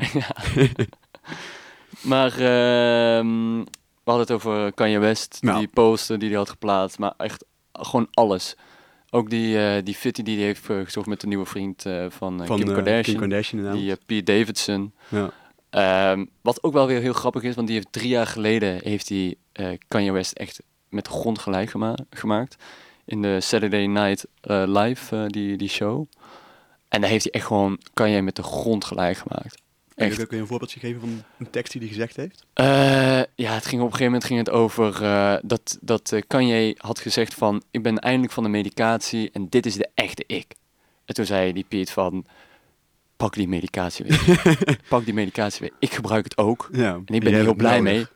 B: Maar ehm, we hadden het over Kanye West,
A: Nou.
B: die poster die hij had geplaatst, maar echt gewoon alles. Ook die, eh, die fitty die hij heeft eh, gezocht met de nieuwe vriend eh, van, eh,
A: van
B: Kim
A: eh,
B: Kardashian,
A: Kardashian inderdaad.
B: die eh, Pete Davidson.
A: ja.
B: Ehm, wat ook wel weer heel grappig is, want die heeft drie jaar geleden heeft die eh, Kanye West echt met de grond gelijk gema- gemaakt. In de Saturday Night eh, Live, eh, die, die show. En daar heeft hij echt gewoon Kanye met de grond gelijk gemaakt.
A: Heb
B: Echt.
A: je ook een voorbeeldje gegeven van een tekst die hij gezegd heeft?
B: Eh, ja, het ging op een gegeven moment ging het over eh, dat, dat eh, Kanye had gezegd van... ik ben eindelijk van de medicatie en dit is de echte ik. En toen zei die Piet van... pak die medicatie weer. pak die medicatie weer. Ik gebruik het ook.
A: Ja.
B: En ik ben er heel blij mee.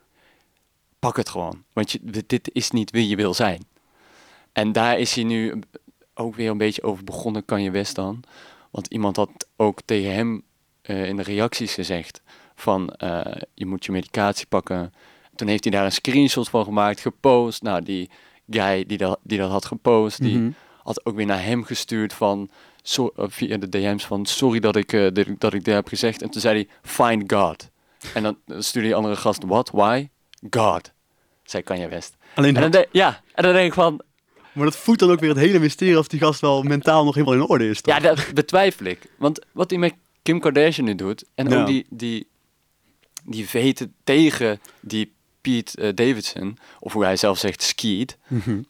B: Pak het gewoon. Want je, dit- dit is niet wie je wil zijn. En daar is hij nu ook weer een beetje over begonnen, kan je best dan. Want iemand had ook tegen hem eh, in de reacties gezegd van eh, je moet je medicatie pakken. Toen heeft hij daar een screenshot van gemaakt, gepost. Nou, die guy die dat, die dat had gepost, die
A: Mhm.
B: had ook weer naar hem gestuurd van so- eh, via de DM's van sorry dat ik, eh, dat, ik- dat ik dit heb gezegd. En toen zei hij, find God. En dan eh, stuurde die andere gast, what, why? God, zei Kanye West.
A: Alleen
B: En dan
A: dat,
B: denk, ja, en dan denk ik van,
A: maar dat voedt dan ook weer het hele mysterie of die gast wel mentaal nog helemaal in orde is. Toch?
B: ja, dat betwijfel ik. Want wat hij met Kim Kardashian nu doet, en
A: Ja.
B: ook die, die, die veten tegen die Pete eh, Davidson, of hoe hij zelf zegt, skied.
A: Mhm.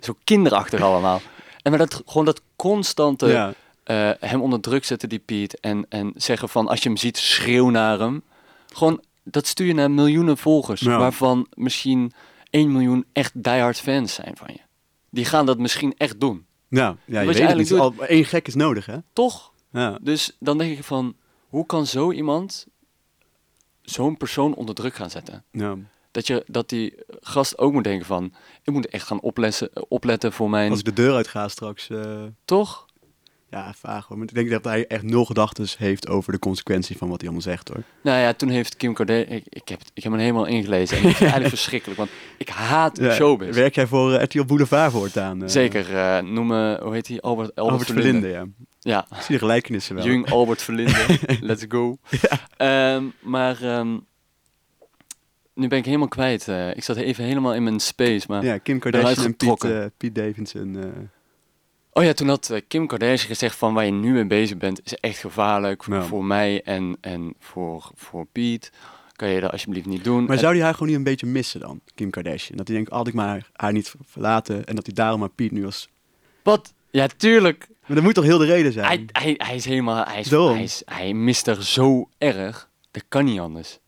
B: *laughs* Zo kinderachtig allemaal. En maar dat, gewoon dat constante...
A: Ja.
B: eh, hem onder druk zetten, die Piet. En, en zeggen van, als je hem ziet, schreeuw naar hem. Gewoon, dat stuur je naar miljoenen volgers.
A: Ja.
B: Waarvan misschien 1 miljoen echt diehard fans zijn van je. Die gaan dat misschien echt doen.
A: ja, ja, je weet
B: Wat
A: het
B: je
A: niet.
B: eigenlijk doet-
A: Al, één gek is nodig, hè?
B: Toch?
A: Ja.
B: Dus dan denk ik van, hoe kan zo iemand zo'n persoon onder druk gaan zetten?
A: ja.
B: Dat, je, dat die gast ook moet denken van, ik moet echt gaan oplessen, opletten voor mijn...
A: Als ik de deur uit ga straks. eh,
B: Toch?
A: ja, vaag hoor. Maar ik denk dat hij echt nul gedachten heeft over de consequentie van wat hij allemaal zegt, hoor.
B: Nou ja, toen heeft Kim Kardashian... Ik, ik, heb, het- ik heb hem helemaal ingelezen. En het is eigenlijk *laughs* verschrikkelijk, want ik haat
A: Ja.
B: showbiz.
A: Werk jij voor eh, RTL Boulevard voortaan? eh?
B: Zeker, eh, noem me, hoe heet hij? Albert, Albert,
A: Albert Verlinde, ja.
B: Ja,
A: Ik zie de gelijkenissen wel.
B: Jung Albert
A: *laughs*
B: Verlinde, let's go. Ehm, maar ehm, nu ben ik helemaal kwijt. eh. ik zat even helemaal in mijn space. Maar...
A: Ja, Kim Kardashian en Piet,
B: uitgetrokken.
A: eh, Piet Davidson. eh,
B: Oh ja, toen had eh, Kim Kardashian gezegd van waar je nu mee bezig bent is echt gevaarlijk
A: Ja.
B: voor mij en, en voor, voor Piet. Kan je dat alsjeblieft niet doen.
A: Maar
B: En-
A: zou hij haar gewoon niet een beetje missen dan, Kim Kardashian? Dat hij denkt, "Ah, had ik maar haar niet verlaten en dat hij daarom maar Piet nu was.
B: Wat? Ja, tuurlijk.
A: Maar dat moet toch heel de reden zijn?
B: Hij, hij, hij is helemaal... Hij, is,
A: Daarom.
B: hij, is, hij mist er zo erg. Dat kan niet anders.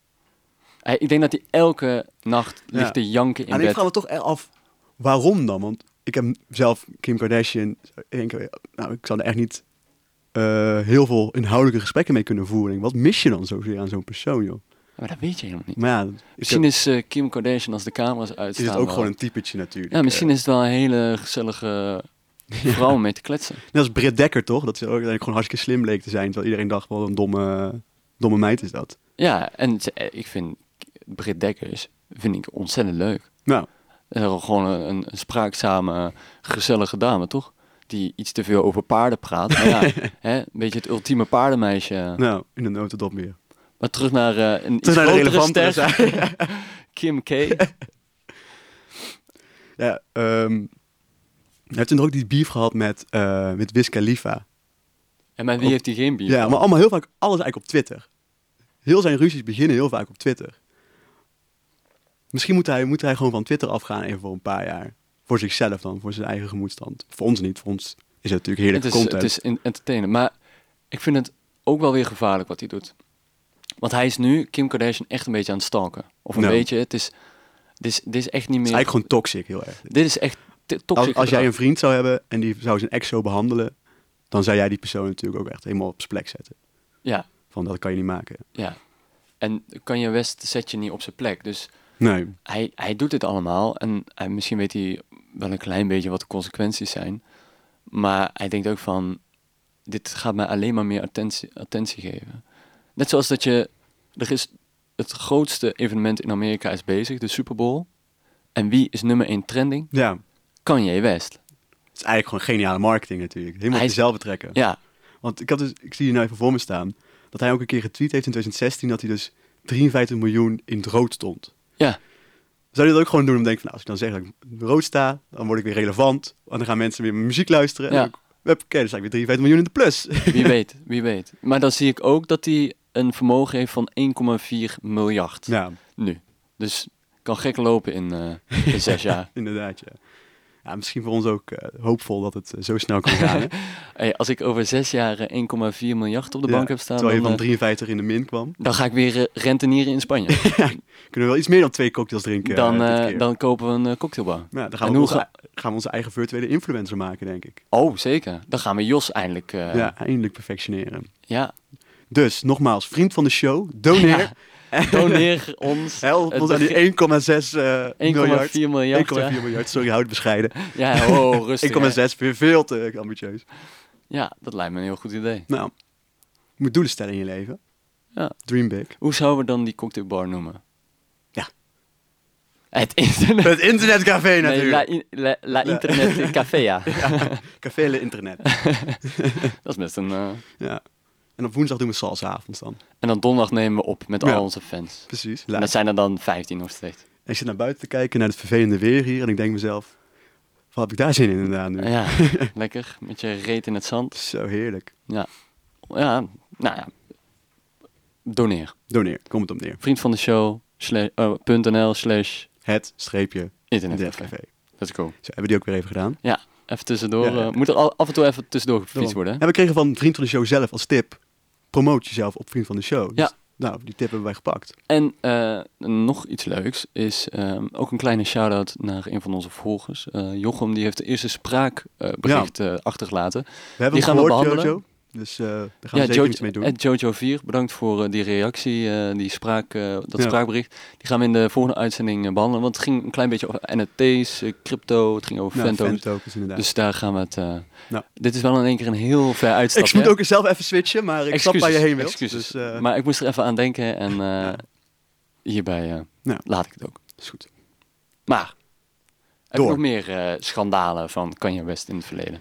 B: Hij- ik denk dat hij elke nacht
A: Ja.
B: ligt te janken in
A: en ik
B: bed.
A: vraag me toch echt af, waarom dan? Want ik heb zelf Kim Kardashian, ik denk, eh, nou, ik zou er echt niet eh, heel veel inhoudelijke gesprekken mee kunnen voeren. Ik denk, Wat mis je dan zozeer aan zo'n persoon, joh?
B: Maar dat weet je helemaal niet.
A: Maar ja, ik
B: Misschien
A: heb-
B: is eh, Kim Kardashian als de camera's uitstaan.
A: is het ook
B: wel-
A: gewoon een typetje natuurlijk.
B: Ja, misschien
A: Eh,
B: is het wel een hele
A: *laughs*
B: gezellige vrouw om mee te kletsen.
A: Net als Britt Dekker, toch? Dat ze ook eigenlijk gewoon hartstikke slim bleek te zijn. Terwijl iedereen dacht, wat een domme, domme meid is dat.
B: Ja, en ze- eh, ik vind Britt Dekkers vind ik ontzettend leuk.
A: Nou,
B: Eh, Gewoon een, een spraakzame, gezellige dame, toch? Die iets te veel over paarden praat. Maar ja,
A: *laughs*
B: hè, een beetje het ultieme paardenmeisje.
A: nou in de notendop meer.
B: Maar terug naar eh, een iets
A: Terug naar de
B: grotere
A: relevantere
B: ster, *laughs* Kim K.
A: Ja, ehm hij heeft toen nog ook die beef gehad met, eh met Wiz Khalifa.
B: En met wie heeft hij geen bier?
A: Ja, maar allemaal heel vaak, alles eigenlijk op Twitter. Heel zijn ruzies beginnen heel vaak op Twitter. Misschien moet hij, moet hij gewoon van Twitter afgaan even voor een paar jaar. Voor zichzelf dan, voor zijn eigen gemoedstand. Voor ons niet, voor ons is het natuurlijk
B: het
A: heerlijke
B: is,
A: content.
B: het is in- entertainen. Maar ik vind het ook wel weer gevaarlijk wat hij doet. Want hij is nu Kim Kardashian echt een beetje aan het stalken. Of een
A: Ja.
B: beetje, het is, dit is, dit is echt niet
A: Het
B: meer...
A: is eigenlijk gewoon toxic, heel erg.
B: Dit is echt te- toxic.
A: Als, als jij
B: gedrag.
A: een vriend zou hebben en die zou zijn ex zo behandelen, dan zou jij die persoon natuurlijk ook echt helemaal op zijn plek zetten.
B: Ja,
A: Van dat kan je niet maken.
B: ja. En Kanye West zet je niet op zijn plek. Dus
A: Nee.
B: hij, hij doet dit allemaal. En hij, misschien weet hij wel een klein beetje wat de consequenties zijn. Maar hij denkt ook van... Dit gaat mij alleen maar meer attentie, attentie geven. Net zoals dat je... Er is het grootste evenement in Amerika is bezig, de Super Bowl. En wie is nummer 1 trending?
A: Ja, het
B: Kanye West.
A: is eigenlijk gewoon geniale marketing natuurlijk. Helemaal op
B: Hij is-
A: jezelf betrekken.
B: Ja,
A: Want ik, had dus, ik zie hier nou even voor me staan, dat hij ook een keer getweet heeft in 2016 dat hij dus 53 miljoen in het rood stond.
B: ja.
A: Zou je dat ook gewoon doen om te denken van, nou, als ik dan zeg dat ik in het rood sta, dan word ik weer relevant. En dan gaan mensen weer mijn muziek luisteren.
B: Ja.
A: En dan, heb ik- oké, dan sta ik weer 53 miljoen in de plus.
B: Wie weet, wie weet. Maar dan zie ik ook dat hij een vermogen heeft van 1,4 miljard.
A: *laughs* ja,
B: Nu. Dus kan gek lopen in, eh, in zes jaar.
A: *laughs* inderdaad, ja. Ja, misschien voor ons ook eh, hoopvol dat het eh, zo snel kan
B: *laughs*
A: gaan. hè?
B: Hey, als ik over zes jaar eh, 1,4 miljard op de
A: Ja,
B: bank heb staan, dan,
A: Terwijl je van
B: eh,
A: 53 in de min kwam.
B: dan ga ik weer eh, rentenieren in
A: *laughs*
B: Spanje.
A: Kunnen we wel iets meer dan twee cocktails drinken
B: dan,
A: eh, dit
B: eh,
A: keer.
B: dan kopen we een eh, cocktailbar.
A: Ja, dan gaan
B: en
A: we,
B: hoe
A: onze, gaan we onze eigen virtuele influencer maken, denk ik.
B: Oh, zeker. Dan gaan we Jos eindelijk... eh, ja.
A: ja, eindelijk perfectioneren. Dus, nogmaals, vriend van de show, doneer.
B: *laughs* Ja. Doneer
A: *laughs*
B: ons.
A: Help
B: het
A: ons aan die 1,6
B: begin-
A: eh, miljard.
B: 1,4 miljard.
A: 1,4
B: ja.
A: miljard, sorry, houd het
B: *laughs*
A: bescheiden. 1,6
B: Ja, oh, rustig. hè.
A: weer veel te eh, ambitieus.
B: Ja, dat lijkt me een heel goed idee.
A: Nou, je moet doelen stellen in je leven.
B: Ja.
A: Dream big.
B: Hoe zouden we dan die cocktailbar noemen?
A: Ja.
B: Het internet...
A: Het internetcafé
B: Nee, la,
A: natuurlijk.
B: in- la, la
A: *laughs*
B: internet café, ja.
A: Café Le Internet.
B: Dat is best een... eh,
A: ja. En op woensdag doen we salsa avonds dan.
B: En dan donderdag nemen we op met
A: Ja.
B: al onze fans.
A: Precies.
B: En dat zijn er dan 15 nog steeds.
A: En ik zit naar buiten te kijken, naar het vervelende weer hier. En ik denk mezelf, wat heb ik daar zin in inderdaad nu?
B: Ah,
A: *laughs*
B: Ja, lekker. Met je reet in het zand.
A: Zo heerlijk.
B: Ja. Ja, nou ja. Doneer.
A: Doneer, kom het op neer.
B: Vriend van de show. Slash, eh, .nl slash
A: Het streepje
B: internetcafé.
A: internetcafé.
B: Let's go.
A: Zo, hebben die ook weer even gedaan.
B: Ja, even tussendoor.
A: Ja, ja.
B: eh, moet er al, af en toe even tussendoor gefietst worden. hè?
A: En we kregen van Vriend van de Show zelf als tip: promoot jezelf op Vriend van de Show. Dus,
B: Ja.
A: nou, die tip hebben wij gepakt.
B: En eh, nog iets leuks is ehm, ook een kleine shout-out naar een van onze volgers. Eh, Jochem, die heeft de eerste spraakbericht eh, achtergelaten.
A: We hebben
B: Die gaan
A: hem
B: we
A: gehoord,
B: behandelen.
A: Jojo. Dus eh, daar gaan we zeker
B: Jo-
A: iets mee doen.
B: at Jojo4, eh, bedankt voor eh, die reactie, eh, die spraak, eh, dat
A: Ja.
B: spraakbericht. Die gaan we in de volgende uitzending eh, behandelen, want het ging een klein beetje over NFT's, eh, crypto, het ging over
A: Nou,
B: Fento.
A: fantokens, inderdaad.
B: Dus daar gaan we het... eh,
A: Nou.
B: Dit is wel in één keer een heel ver
A: ik
B: uitstapje.
A: moet
B: hè?
A: ook zelf even switchen, maar ik snap waar je
B: Excuses,
A: heen wilt.
B: excuses.
A: Dus eh,
B: Maar ik moest er even aan denken en eh, hierbij eh,
A: Nou.
B: laat ik het ook.
A: is goed.
B: Maar, heb
A: Door.
B: je nog meer eh, schandalen van Kanye West in het verleden?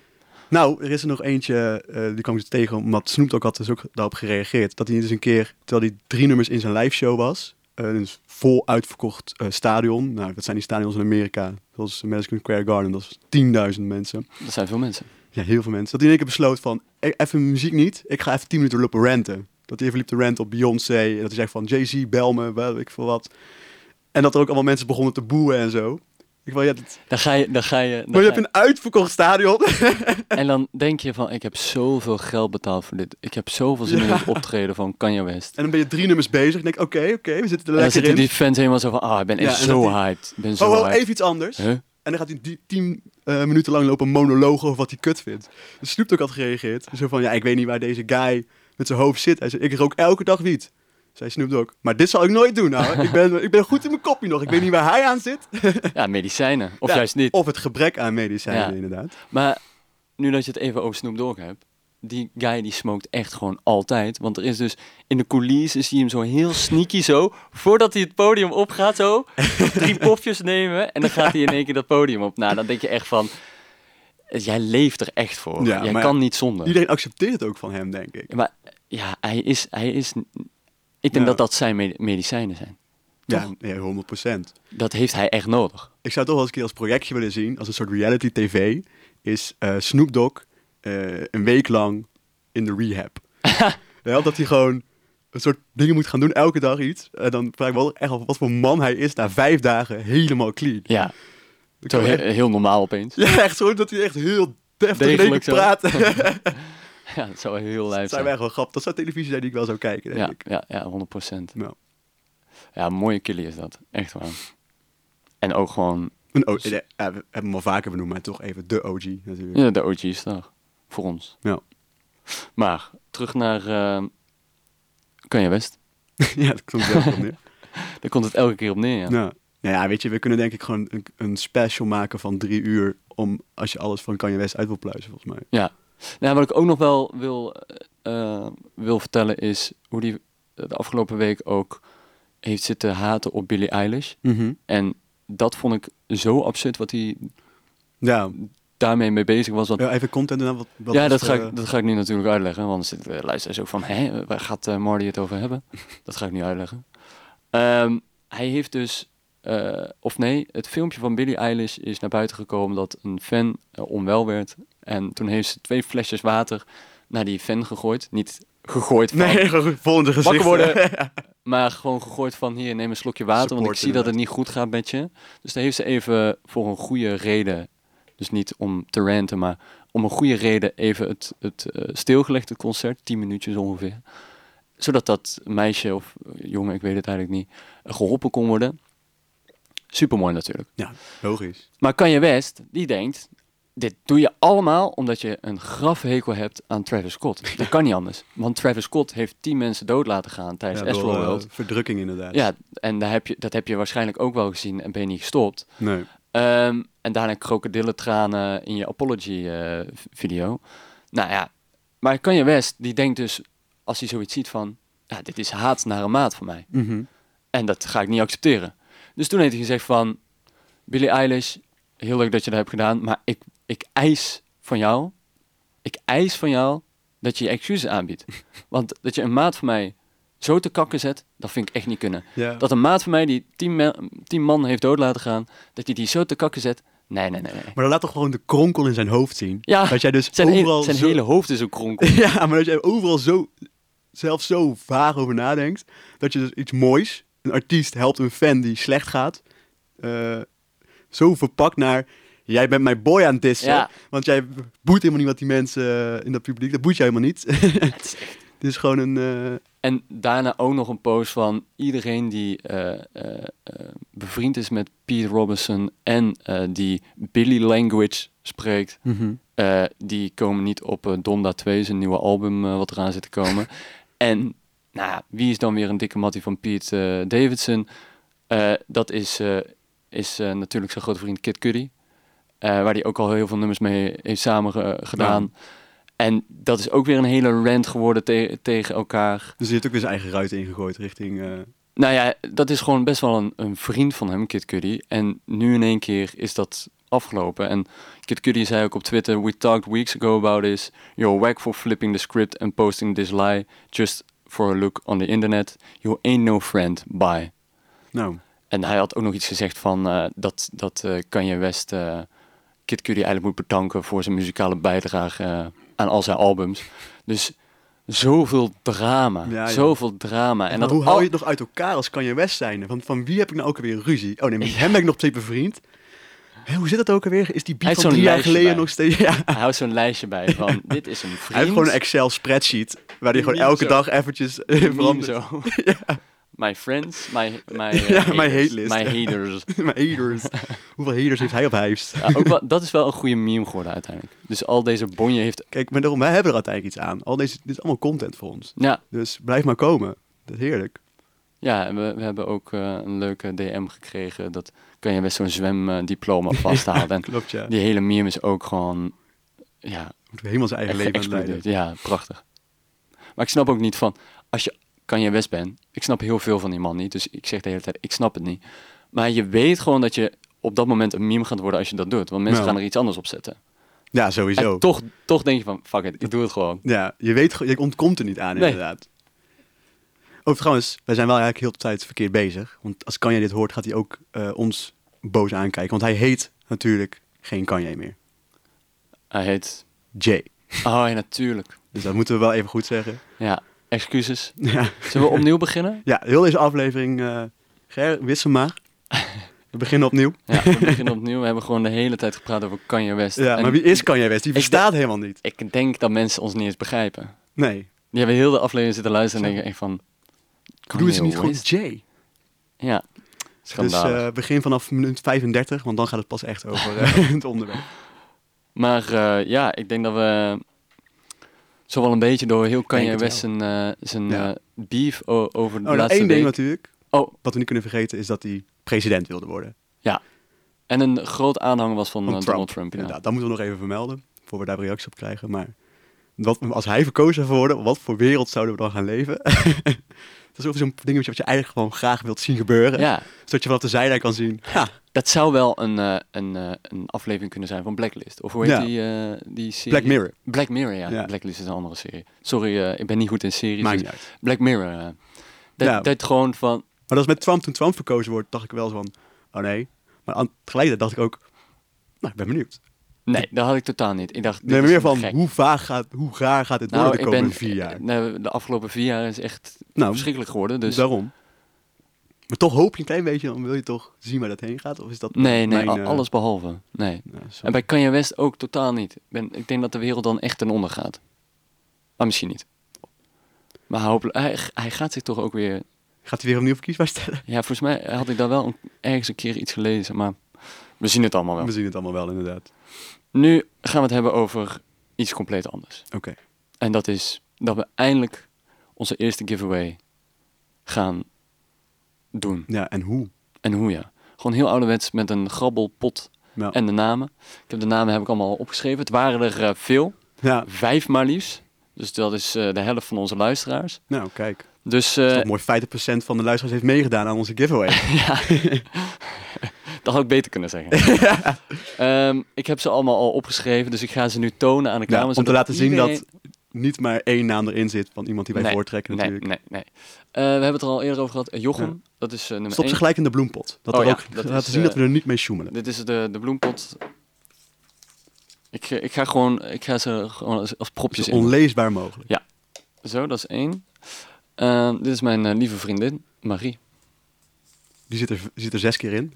A: Nou, er is er nog eentje, eh, die kwam ik dus tegen, omdat Snoop Dogg had dus ook daarop gereageerd. Dat hij dus een keer, terwijl hij drie nummers in zijn liveshow was, eh, een vol uitverkocht eh, stadion. Nou, dat zijn die stadions in Amerika, zoals Madison Square Garden, dat is 10.000 mensen.
B: Dat zijn veel mensen.
A: Ja, heel veel mensen. Dat hij in één keer besloot van, e- even muziek niet, ik ga even 10 minuten lopen ranten. Dat hij even liep te ranten op Beyoncé, en dat hij zei van Jay-Z, bel me, wel, ik veel wat. En dat er ook allemaal mensen begonnen te boeien en zo. Ik wil, ja, dat-
B: Dan ga je... Dan ga je dan
A: maar je
B: ga
A: hebt een uitverkocht stadion.
B: En dan denk je van, ik heb zoveel geld betaald voor dit. Ik heb zoveel zin in het optreden van Kanye West.
A: En dan ben je drie nummers bezig. En denk ik, oké, oké, we zitten er
B: En dan
A: lekker
B: zitten
A: in.
B: die fans helemaal zo van, ah, ik ben
A: Ja,
B: echt
A: en
B: zo
A: dat die-
B: hyped. Ik ben zo
A: Oh, oh,
B: hyped.
A: even iets anders.
B: Huh?
A: En dan gaat hij die tien eh, minuten lang lopen monologen over wat hij kut vindt. Dus Snoop Dogg had gereageerd. Zo van, ja, ik weet niet waar deze guy met zijn hoofd zit. Hij zei, ik rook elke dag wiet. Zei Snoop Dogg, maar dit zal ik nooit doen. Nou, ik, ben, ik ben goed in mijn kopje nog. Ik weet niet waar hij aan zit.
B: Ja, medicijnen. Of
A: Ja,
B: juist niet.
A: Of het gebrek aan medicijnen,
B: Ja.
A: inderdaad.
B: Maar nu dat je het even over Snoop Dogg hebt. Die guy die smoked echt gewoon altijd. Want er is dus in de coulissen zie je hem zo heel sneaky zo. Voordat hij het podium opgaat
A: *laughs*
B: zo. Drie popjes nemen. En dan gaat hij in één keer dat podium op. Nou, dan denk je echt van... Jij leeft er echt voor.
A: Ja,
B: jij
A: maar-
B: kan niet zonder.
A: Iedereen accepteert het ook van hem, denk ik.
B: Ja, Maar ja, hij is. Hij is n- ik denk
A: Ja.
B: dat dat zijn me- medicijnen zijn.
A: Ja, ja 100
B: Dat heeft hij echt nodig.
A: Ik zou het toch wel eens een keer als projectje willen zien, als een soort reality tv, is eh Snoop Dogg eh, een week lang in de
B: *laughs*
A: rehab. ja, dat hij gewoon een soort dingen moet gaan doen, elke dag iets. En dan vraag ik me wel echt af wat voor man hij is na vijf dagen helemaal clean.
B: Ja,
A: Ik
B: zo
A: kan
B: he-
A: echt,
B: heel normaal
A: *laughs*
B: opeens.
A: ja, echt zo dat hij echt heel deftig in één
B: Degelijk
A: keer
B: zo.
A: praat.
B: ja, dat zou wel heel lijf
A: Dat zijn
B: zijn.
A: we echt wel grappig. Dat zou televisie zijn die ik wel zou kijken, denk
B: ja,
A: ik.
B: ja, ja, 100 procent.
A: Nou,
B: Ja, mooie killie is dat. Echt waar. En ook gewoon
A: een O- ja, we hebben hem al vaker benoemd, maar toch even de OG natuurlijk. Nou,
B: ja, de OG's daar. Voor ons.
A: Ja.
B: Maar terug naar kan Kanye West.
A: *laughs* ja, dat klopt wel. van, ja.
B: Daar komt het elke keer op neer. Ja.
A: Nou, nou ja, weet je, we kunnen denk ik gewoon een, een special maken van drie uur om als je alles van Kanye West uit wil pluizen, volgens mij.
B: Ja. Nou, wat ik ook nog wel wil, eh, eh, wil vertellen is hoe die eh, de afgelopen week ook heeft zitten haten op Billie Eilish. En dat vond ik zo absurd wat hij
A: Ja,
B: daarmee mee bezig was. Want,
A: ja, even content en dan wat, wat
B: ja,
A: is eh,
B: dat
A: de-
B: ga, ik, dat ga ik nu natuurlijk uitleggen. Want er zitten eh, luisteraars ook van, hè, waar gaat eh Marty het over
A: *laughs*
B: hebben? dat ga ik nu uitleggen. Ehm, hij heeft dus, eh, of nee, het filmpje van Billie Eilish is naar buiten gekomen dat een fan eh, onwel werd. En toen heeft ze twee flesjes water naar die fan gegooid. Niet gegooid
A: *laughs*
B: van,
A: Nee, gewoon volgende gezicht.
B: worden. maar gewoon gegooid van hier, neem een slokje water, want ik
A: Support,
B: zie dat het niet goed gaat met je. Dus daar heeft ze even voor een goede reden, dus niet om te ranten, maar om een goede reden even het, het eh, stilgelegd, het concert, 10 minuutjes ongeveer. Zodat dat meisje of jongen, ik weet het eigenlijk niet, eh, geholpen kon worden. Supermooi natuurlijk.
A: *laughs* Ja, logisch.
B: Maar Kanye West, die denkt, dit doe je allemaal omdat je een grafhekel hebt aan
A: *laughs*
B: Travis Scott. Dat kan niet anders, want Travis Scott heeft 10 mensen dood laten gaan tijdens
A: Ja,
B: Astro
A: door, eh,
B: World.
A: verdrukking inderdaad.
B: Ja, en daar heb je, dat heb je waarschijnlijk ook wel gezien en ben je niet gestopt.
A: Nee.
B: Ehm, en daarna krokodillentranen in je apology-video. nou ja, maar Kanye West, die denkt dus, als hij zoiets ziet van... Ja, dit is haat naar een maat van mij. En dat ga ik niet accepteren. Dus toen heeft hij gezegd van... Billie Eilish, heel leuk dat je dat hebt gedaan... maar ik, ik eis van jou... ik eis van jou dat je je excuses
A: *laughs*
B: aanbiedt. Want dat je een maat van mij zo te kakken zet... dat vind ik echt niet kunnen.
A: Ja.
B: Dat een maat van mij die tien, me- tien man heeft dood laten gaan... dat hij die zo te kakken zet... nee, nee, nee. nee.
A: Maar dan laat toch gewoon de kronkel in zijn hoofd zien.
B: Ja,
A: dat jij dus
B: Zijn, he-
A: overal
B: zijn
A: zo...
B: hele hoofd is ook kronkel.
A: *laughs* Ja, maar dat jij overal zo, zelf zo vaag over nadenkt, dat je dus iets moois, een artiest helpt een fan die slecht gaat, eh, zo verpakt naar, jij bent mijn boy aan het dissen,
B: Ja.
A: want jij boeit helemaal niet wat die mensen eh, in dat publiek, dat boeit jij helemaal niet.
B: Het is echt-
A: *laughs* Het is gewoon een, eh,
B: En daarna ook nog een post van iedereen die eh, eh, eh, bevriend is met Pete Robinson... en eh, die Billy Language spreekt... eh, die komen niet op eh, Donda 2, zijn nieuwe album eh, wat eraan zit te komen. en nou, ja, wie is dan weer een dikke mattie van Pete eh, Davidson? Eh, dat is, eh, is eh, natuurlijk zijn grote vriend Kid Cudi. eh, waar hij ook al heel veel nummers mee heeft samen eh, gedaan. En dat is ook weer een hele rant geworden te- tegen elkaar.
A: dus je hebt ook weer zijn eigen ruit ingegooid richting, eh,
B: Nou ja, dat is gewoon best wel een, een vriend van hem, Kid Cudi. En nu in één keer is dat afgelopen. En Kid Cudi zei ook op Twitter... We talked weeks ago about this. You're whack for flipping the script and posting this lie... just for a look on the internet. You ain't no friend. Bye.
A: nou,
B: En hij had ook nog iets gezegd van... eh, dat, dat eh Kanye West eh, Kid Cudi eigenlijk moet bedanken... voor zijn muzikale bijdrage eh, aan al zijn albums. Dus zoveel drama.
A: Ja, ja.
B: Zoveel drama.
A: en
B: dat
A: hoe
B: al-
A: hou je het nog uit elkaar als Kanye West zijn? Van, van wie heb ik nou ook alweer ruzie? Oh nee, met hem ben ik nog steeds bevriend. Hé, hoe zit dat ook alweer? Is die
B: Hij
A: beat van
B: heeft zo'n
A: drie jaar
B: lijstje
A: geleden
B: bij.
A: nog steeds... *laughs* Ja.
B: Hij houdt zo'n lijstje bij
A: *laughs*
B: van dit is een vriend.
A: Hij heeft gewoon een Excel spreadsheet waar hij gewoon
B: Meme
A: elke
B: zo.
A: dag eventjes eh, *laughs*
B: Meme
A: verandert.
B: zo. My friends, my, my,
A: *laughs*
B: eh,
A: Ja,
B: haters,
A: my hate list.
B: my haters.
A: Maar
B: *laughs*
A: haters. Hoeveel haters heeft hij op huis?
B: Ja, ook wel, dat is wel een goede meme geworden uiteindelijk. Dus al deze bonje heeft...
A: Kijk, maar daarom, wij hebben er uiteindelijk iets aan. Al deze, dit is allemaal content voor ons.
B: Ja,
A: Dus blijf maar komen. Dat is heerlijk.
B: ja en we, we hebben ook eh, een leuke DM gekregen. Dat kan je best zo'n
A: *laughs*
B: zwemdiploma vasthouden. en
A: Klopt, ja.
B: die hele meme is ook gewoon... Ja,
A: Moet helemaal zijn eigen
B: echt
A: leven aan het leiden.
B: geëxplodeerd. Ja, prachtig. Maar ik snap ook niet van... Als je kan je best bent... Ik snap heel veel van die man niet. Dus ik zeg de hele tijd, ik snap het niet. Maar je weet gewoon dat je op dat moment een meme gaat worden als je dat doet. Want mensen
A: Nou.
B: gaan er iets anders op zetten.
A: Ja, sowieso.
B: En toch, toch denk je van, fuck it, ik doe het gewoon.
A: Ja, je weet, ge- je ontkomt er niet aan,
B: Nee.
A: inderdaad. Oh, trouwens, wij zijn wel eigenlijk heel de tijd verkeerd bezig. Want als Kanye dit hoort, gaat hij ook eh, ons boos aankijken. Want hij heet natuurlijk geen Kanye meer.
B: Hij heet...
A: Jay.
B: Oh ja, natuurlijk.
A: Dus dat moeten we wel even goed zeggen.
B: Ja, excuses.
A: Ja. *laughs*
B: Zullen we opnieuw beginnen?
A: Ja, heel deze aflevering, eh Ger, wissel maar. We beginnen
B: *laughs*
A: opnieuw.
B: Ja, we beginnen opnieuw. We hebben gewoon de hele tijd gepraat over Kanye West.
A: Ja,
B: En
A: maar wie is Kanye West? Die
B: ik
A: bestaat helemaal niet.
B: Ik denk dat mensen ons niet eens begrijpen.
A: Nee.
B: Die hebben heel de aflevering zitten luisteren en denken echt van...
A: Doe ze
B: Kanye
A: niet gewoon
B: West?
A: Jay?
B: Ja,
A: Dus
B: schandalig.
A: eh, begin vanaf minuut 35, want dan gaat het pas echt over
B: *laughs*
A: eh, het onderwerp.
B: Maar eh, ja, ik denk dat we zo wel een beetje door heel Kanye
A: het wel.
B: West zijn, eh, zijn
A: Ja.
B: eh, beef o- over de
A: Oh, nog
B: laatste
A: één ding
B: week.
A: natuurlijk,
B: Oh,
A: wat we niet kunnen vergeten, is dat hij president wilde worden.
B: en een groot aanhanger was van,
A: Van
B: eh,
A: Trump,
B: Donald Trump. ja.
A: Inderdaad, dat moeten we nog even vermelden, voor we daar reactie op krijgen. Maar wat, als hij verkozen zou worden, wat voor wereld zouden we dan gaan leven? *laughs* dat is ook zo'n dingetje wat je eigenlijk gewoon graag wilt zien gebeuren.
B: ja,
A: Zodat je vanaf de zijlijn kan zien, ha,
B: dat zou wel een, eh, een, eh, een aflevering kunnen zijn van Blacklist. Of hoe heet
A: Ja.
B: die, eh, die serie?
A: Black Mirror.
B: Black Mirror, ja.
A: Ja.
B: Blacklist is een andere serie. Sorry, eh, ik ben niet goed in series.
A: Maakt
B: dus
A: niet uit.
B: Black Mirror. eh, dat,
A: Ja.
B: dat gewoon van...
A: Maar dat is met Trump, toen Trump verkozen wordt, dacht ik wel zo van, oh nee. Maar aan, tegelijkertijd dacht ik ook, nou, ik ben benieuwd.
B: Nee, dat had ik totaal niet. Ik dacht, dit
A: Nee, maar
B: is
A: meer van,
B: gek.
A: hoe, vaag gaat, hoe raar gaat dit worden de
B: Nou, ik
A: komende
B: ben-
A: vier jaar?
B: nou, de afgelopen vier jaar is echt
A: Nou,
B: verschrikkelijk geworden. Dus
A: daarom. Maar toch hoop je een klein beetje, dan wil je toch zien waar dat heen gaat? Of is dat
B: Nee, nee,
A: mijn,
B: a-
A: eh,
B: alles behalve. Nee.
A: nou, zo-
B: En bij Kanye West ook totaal niet. Ik Ben, ik denk dat de wereld dan echt ten onder gaat. Maar misschien niet. Maar hopelijk, hij, hij gaat zich toch ook weer...
A: Gaat hij weer opnieuw verkiesbaar stellen?
B: Ja, volgens mij had ik daar wel een- ergens een keer iets gelezen, maar we zien het allemaal wel.
A: We zien het allemaal wel, inderdaad.
B: Nu gaan we het hebben over iets compleet anders.
A: Oké.
B: En dat is dat we eindelijk onze eerste giveaway gaan doen.
A: Ja, en hoe?
B: En hoe ja. Gewoon heel ouderwets met een grabbelpot
A: Nou,
B: en de namen. Ik heb de namen heb ik allemaal al opgeschreven. Het waren er eh, veel.
A: ja,
B: Vijf maar liefst. Dus dat is eh, de helft van onze luisteraars.
A: nou kijk.
B: Dus eh,
A: Toch mooi 50% van de luisteraars heeft meegedaan aan onze
B: *laughs*
A: giveaway.
B: dat had ik beter kunnen zeggen.
A: *laughs*
B: Ehm, ik heb ze allemaal al opgeschreven, dus ik ga ze nu tonen aan de
A: Ja,
B: camera.
A: om te
B: zodat
A: laten zien
B: iedereen-
A: dat niet maar één naam erin zit van iemand die wij
B: Nee,
A: voortrekken
B: Nee,
A: natuurlijk.
B: nee, nee. Eh, we hebben het er al eerder over gehad. Eh, Jochem, dat is eh, nummer
A: Stop ze
B: één.
A: gelijk in de bloempot. Dat
B: Oh
A: we
B: ja,
A: ook *laughs*
B: dat
A: laten
B: is,
A: zien dat
B: eh,
A: we er niet mee sjoemelen.
B: Dit is de, de bloempot. Ik, eh, ik ga gewoon, ik ga ze gewoon als, als propjes
A: Zo
B: in.
A: onleesbaar mogelijk.
B: Zo, dat is één. Ehm, dit is mijn eh, lieve vriendin, Marie.
A: Die zit er, zit er zes keer
B: *laughs*
A: in.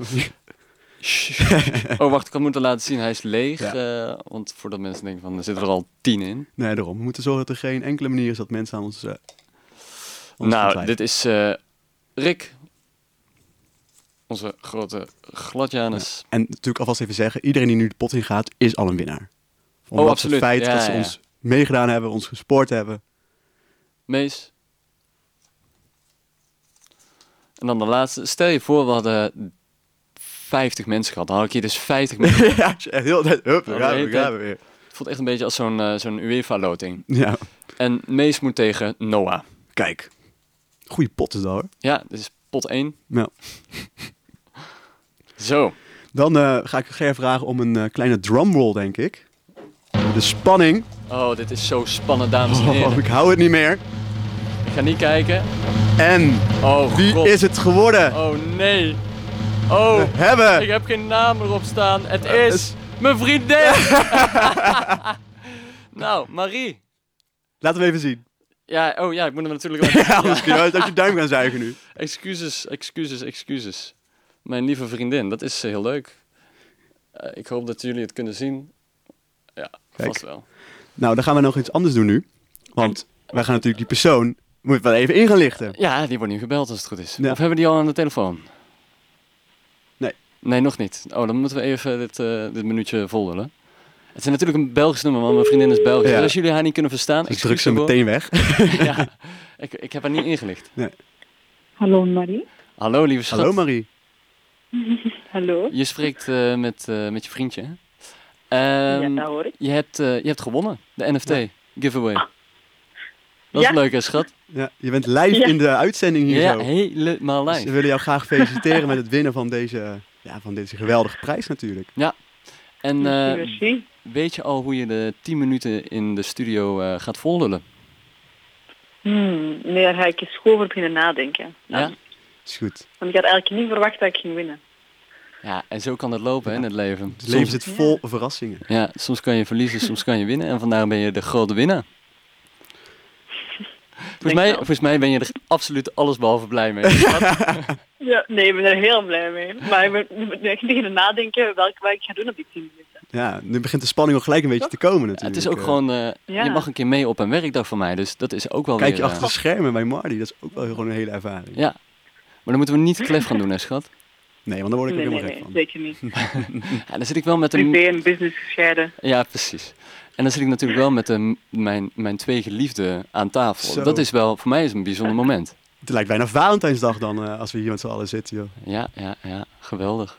B: oh, wacht, ik had moeten laten zien, hij is leeg.
A: Ja.
B: eh, want voordat mensen denken van, er zitten er al tien in.
A: Nee, daarom. We moeten zorgen dat er geen enkele manier is dat mensen aan ons... eh, ons gaan
B: nou,
A: twijfelen.
B: dit is eh, Rick. Onze grote gladjanus.
A: En natuurlijk alvast even zeggen, iedereen die nu de pot in gaat, is al een winnaar. Omdat
B: Oh, absoluut.
A: het feit
B: Ja,
A: dat ze
B: ja,
A: ons meegedaan hebben, ons gespoord
B: *laughs*
A: hebben. *laughs*
B: Mees. En dan de laatste. Stel je voor, we hadden 50 mensen gehad. Dan had ik hier dus 50
A: *laughs*
B: mensen.
A: ja, als je echt heel de tijd, hup, daar
B: Oh,
A: gaan we, daar
B: de hele
A: gaan we weer.
B: Het voelt echt een beetje als zo'n eh, zo'n UEFA-loting.
A: Ja,
B: En Mees moet tegen Noah.
A: kijk. Goeie pot is dat hoor.
B: Ja, dit is pot 1.
A: Nou,
B: Zo.
A: dan eh, ga ik Ger vragen om een eh, kleine drumroll, denk ik. De spanning.
B: Oh, dit is zo spannend, dames en
A: Oh,
B: heren.
A: ik hou het niet meer.
B: Ik ga niet kijken.
A: En
B: Oh,
A: wie
B: god.
A: is het geworden?
B: Oh, nee.
A: *laughs*
B: Oh,
A: We hebben...
B: ik heb geen naam erop staan. Het is
A: is-
B: mijn
A: *laughs*
B: vriendin. *laughs* nou, Marie.
A: Laten we even zien.
B: Ja, oh *laughs* ja, ik moet hem
A: *laughs*
B: natuurlijk... laten-
A: Ja, anders kun je uit je duim gaan zuigen nu.
B: Excuses, excuses, excuses. Mijn lieve vriendin, dat is eh, heel leuk. Eh, ik hoop dat jullie het kunnen zien. Ja,
A: Kijk.
B: vast wel.
A: Nou, dan gaan we nog iets anders doen nu. Want wij gaan natuurlijk die persoon... Moet ik wel even in gaan lichten.
B: Ja, die wordt nu gebeld als het goed is.
A: Ja.
B: Of hebben die al aan de telefoon?
A: Nee.
B: Nee, nog niet. Oh, dan moeten we even dit, eh, dit minuutje volhullen. Het is natuurlijk een Belgisch nummer, want mijn vriendin is Belgisch.
A: Ja.
B: Dus als jullie haar niet kunnen verstaan,
A: Dus ik druk
B: excuus
A: ze meteen weg.
B: daarvoor. *laughs* ja, ik, ik heb haar niet ingelicht.
C: Hallo Marie.
B: Hallo, lieve schat.
A: Hallo Marie.
C: Hallo.
B: Je spreekt eh, met, eh, met je vriendje. hè? Ehm,
C: ja, nou. dat hoor ik.
B: Je hebt, eh, je hebt gewonnen, de NFT giveaway. Dat is
C: Ah. Ja.
B: leuk, hè, schat?
A: Ja, je bent live
C: Ja.
A: in de uitzending hier
B: Ja,
A: zo.
B: helemaal
A: Dus we
B: live.
A: willen jou graag feliciteren met het winnen van deze, ja, van deze geweldige prijs natuurlijk.
B: En
C: Merci,
B: eh,
C: merci.
B: weet je al hoe je de 10 minuten in de studio eh, gaat vollullen?
C: Hmm, nee, daar ga ik eens goed over beginnen nadenken.
B: Ja?
C: Ja.
A: Is goed.
C: Want ik had eigenlijk niet verwacht dat ik ging winnen.
B: Ja, en zo kan het lopen hè, in het leven.
A: Het leven
B: Soms-
A: zit vol verrassingen.
B: ja, soms kan je verliezen, soms kan je winnen. En vandaar ben je de grote winnaar. Volgens
C: denk
B: mij,
C: wel.
B: volgens mij ben je er absoluut allesbehalve
A: *laughs*
B: blij mee. Wat?
C: Ja, nee, ik ben er heel blij mee. *laughs* Maar ik ben- ik ben echt beginnen nadenken welke werk ik ga doen op die 10 minuten.
A: Ja, nu begint de spanning al gelijk een beetje te komen natuurlijk.
B: het is ook
A: Eh,
B: gewoon, eh,
C: Ja.
B: je mag een keer mee op een werkdag van mij, dus dat is ook wel
A: Kijk je
B: weer... eh,
A: achter de schermen bij Marty, dat is ook wel gewoon een hele ervaring.
B: ja. Maar dan moeten we niet klef gaan doen, hè, schat.
A: Nee, want dan word ik
C: Nee,
A: er
C: nee,
A: helemaal
C: nee,
A: gek van.
C: zeker niet.
B: Ja, dan zit ik wel met een...
C: Privé en business gescheiden.
B: Ja, precies. En dan zit ik natuurlijk wel met de, mijn, mijn twee geliefden aan tafel.
A: Zo.
B: Dat is wel, voor mij is het een bijzonder moment.
A: Het lijkt bijna Valentijnsdag dan, eh, als we hier met z'n allen zitten, joh.
B: Ja, ja, ja, geweldig.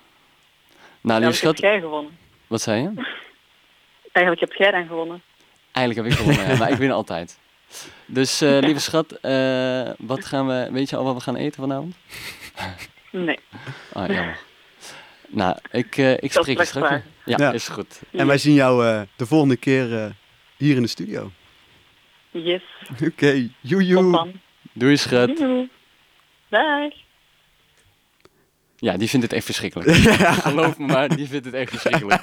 B: Nou,
C: Ja,
B: lief
C: wat heb
B: schat,
C: jij gewonnen?
B: wat zei je?
C: Eigenlijk heb jij dan gewonnen.
B: Eigenlijk heb ik gewonnen, ja, maar ik win altijd. Dus eh, lieve schat, eh, wat gaan we, weet je al wat we gaan eten vanavond?
C: Nee.
B: Ah, jammer. Nou, ik, eh, ik spreek je
C: straks
B: straks. weer.
C: vragen.
B: Ja,
A: Ja.
B: is goed.
A: En wij zien jou eh, de volgende keer eh, hier in de studio. *laughs*
C: Yes.
A: Oké, joe
C: Tot
A: joe.
C: dan.
B: Doei schat.
C: Doei. Dag.
B: Ja, die vindt het echt
A: *laughs*
B: verschrikkelijk. Geloof me maar, die vindt het echt verschrikkelijk.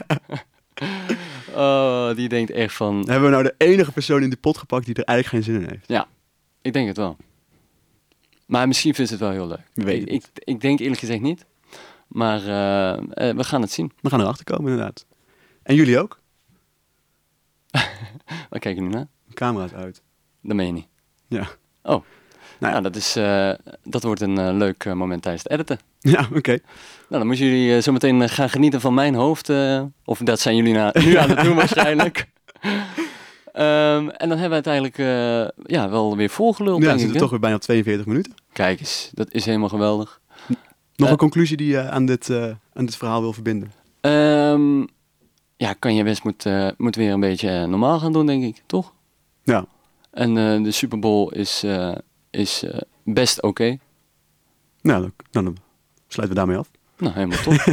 B: Oh, die denkt echt van,
A: Hebben we nou de enige persoon in die pot gepakt die er eigenlijk geen zin in heeft?
B: Ja, ik denk het wel. Maar misschien vindt ze het wel heel leuk.
A: Wie weet
B: ik,
A: het
B: ik, ik denk eerlijk gezegd niet. Maar eh, eh, we gaan het zien.
A: We gaan erachter komen inderdaad. En jullie ook?
B: Waar kijken we nu naar?
A: Camera's uit.
B: Dat meen je niet.
A: Ja, *laughs* Nou
B: Oh, nou,
A: ja.
B: dat, is, eh, dat wordt een eh, leuk eh, moment tijdens het editen.
A: ja oké.
B: Nou, dan moeten jullie eh, zometeen eh, gaan genieten van mijn hoofd. eh, of dat zijn jullie na, nu aan het doen
A: *laughs*
B: waarschijnlijk. Ehm, en dan hebben we het eigenlijk eh, ja, wel weer volgeluld,
A: Ja, dan
B: denk
A: zitten
B: ik.
A: we
B: hè?
A: toch weer bijna op 42 minuten.
B: Kijk eens, dat is helemaal geweldig.
A: Nog
B: Eh.
A: een conclusie die je aan dit, eh, aan dit verhaal wil verbinden.
B: Ehm, ja, kan je best moet, eh, moet weer een beetje eh, normaal gaan doen, denk ik, toch?
A: Ja,
B: En eh, de Super Bowl is, eh, is eh, best oké.
A: nou dan, nou, dan sluiten we daarmee af.
B: Nou, helemaal top.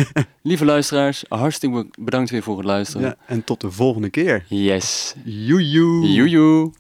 B: Lieve luisteraars, hartstikke bedankt weer voor het luisteren.
A: Ja, en tot de volgende keer.
B: Yes.
A: Joe joe.
B: Joejoe.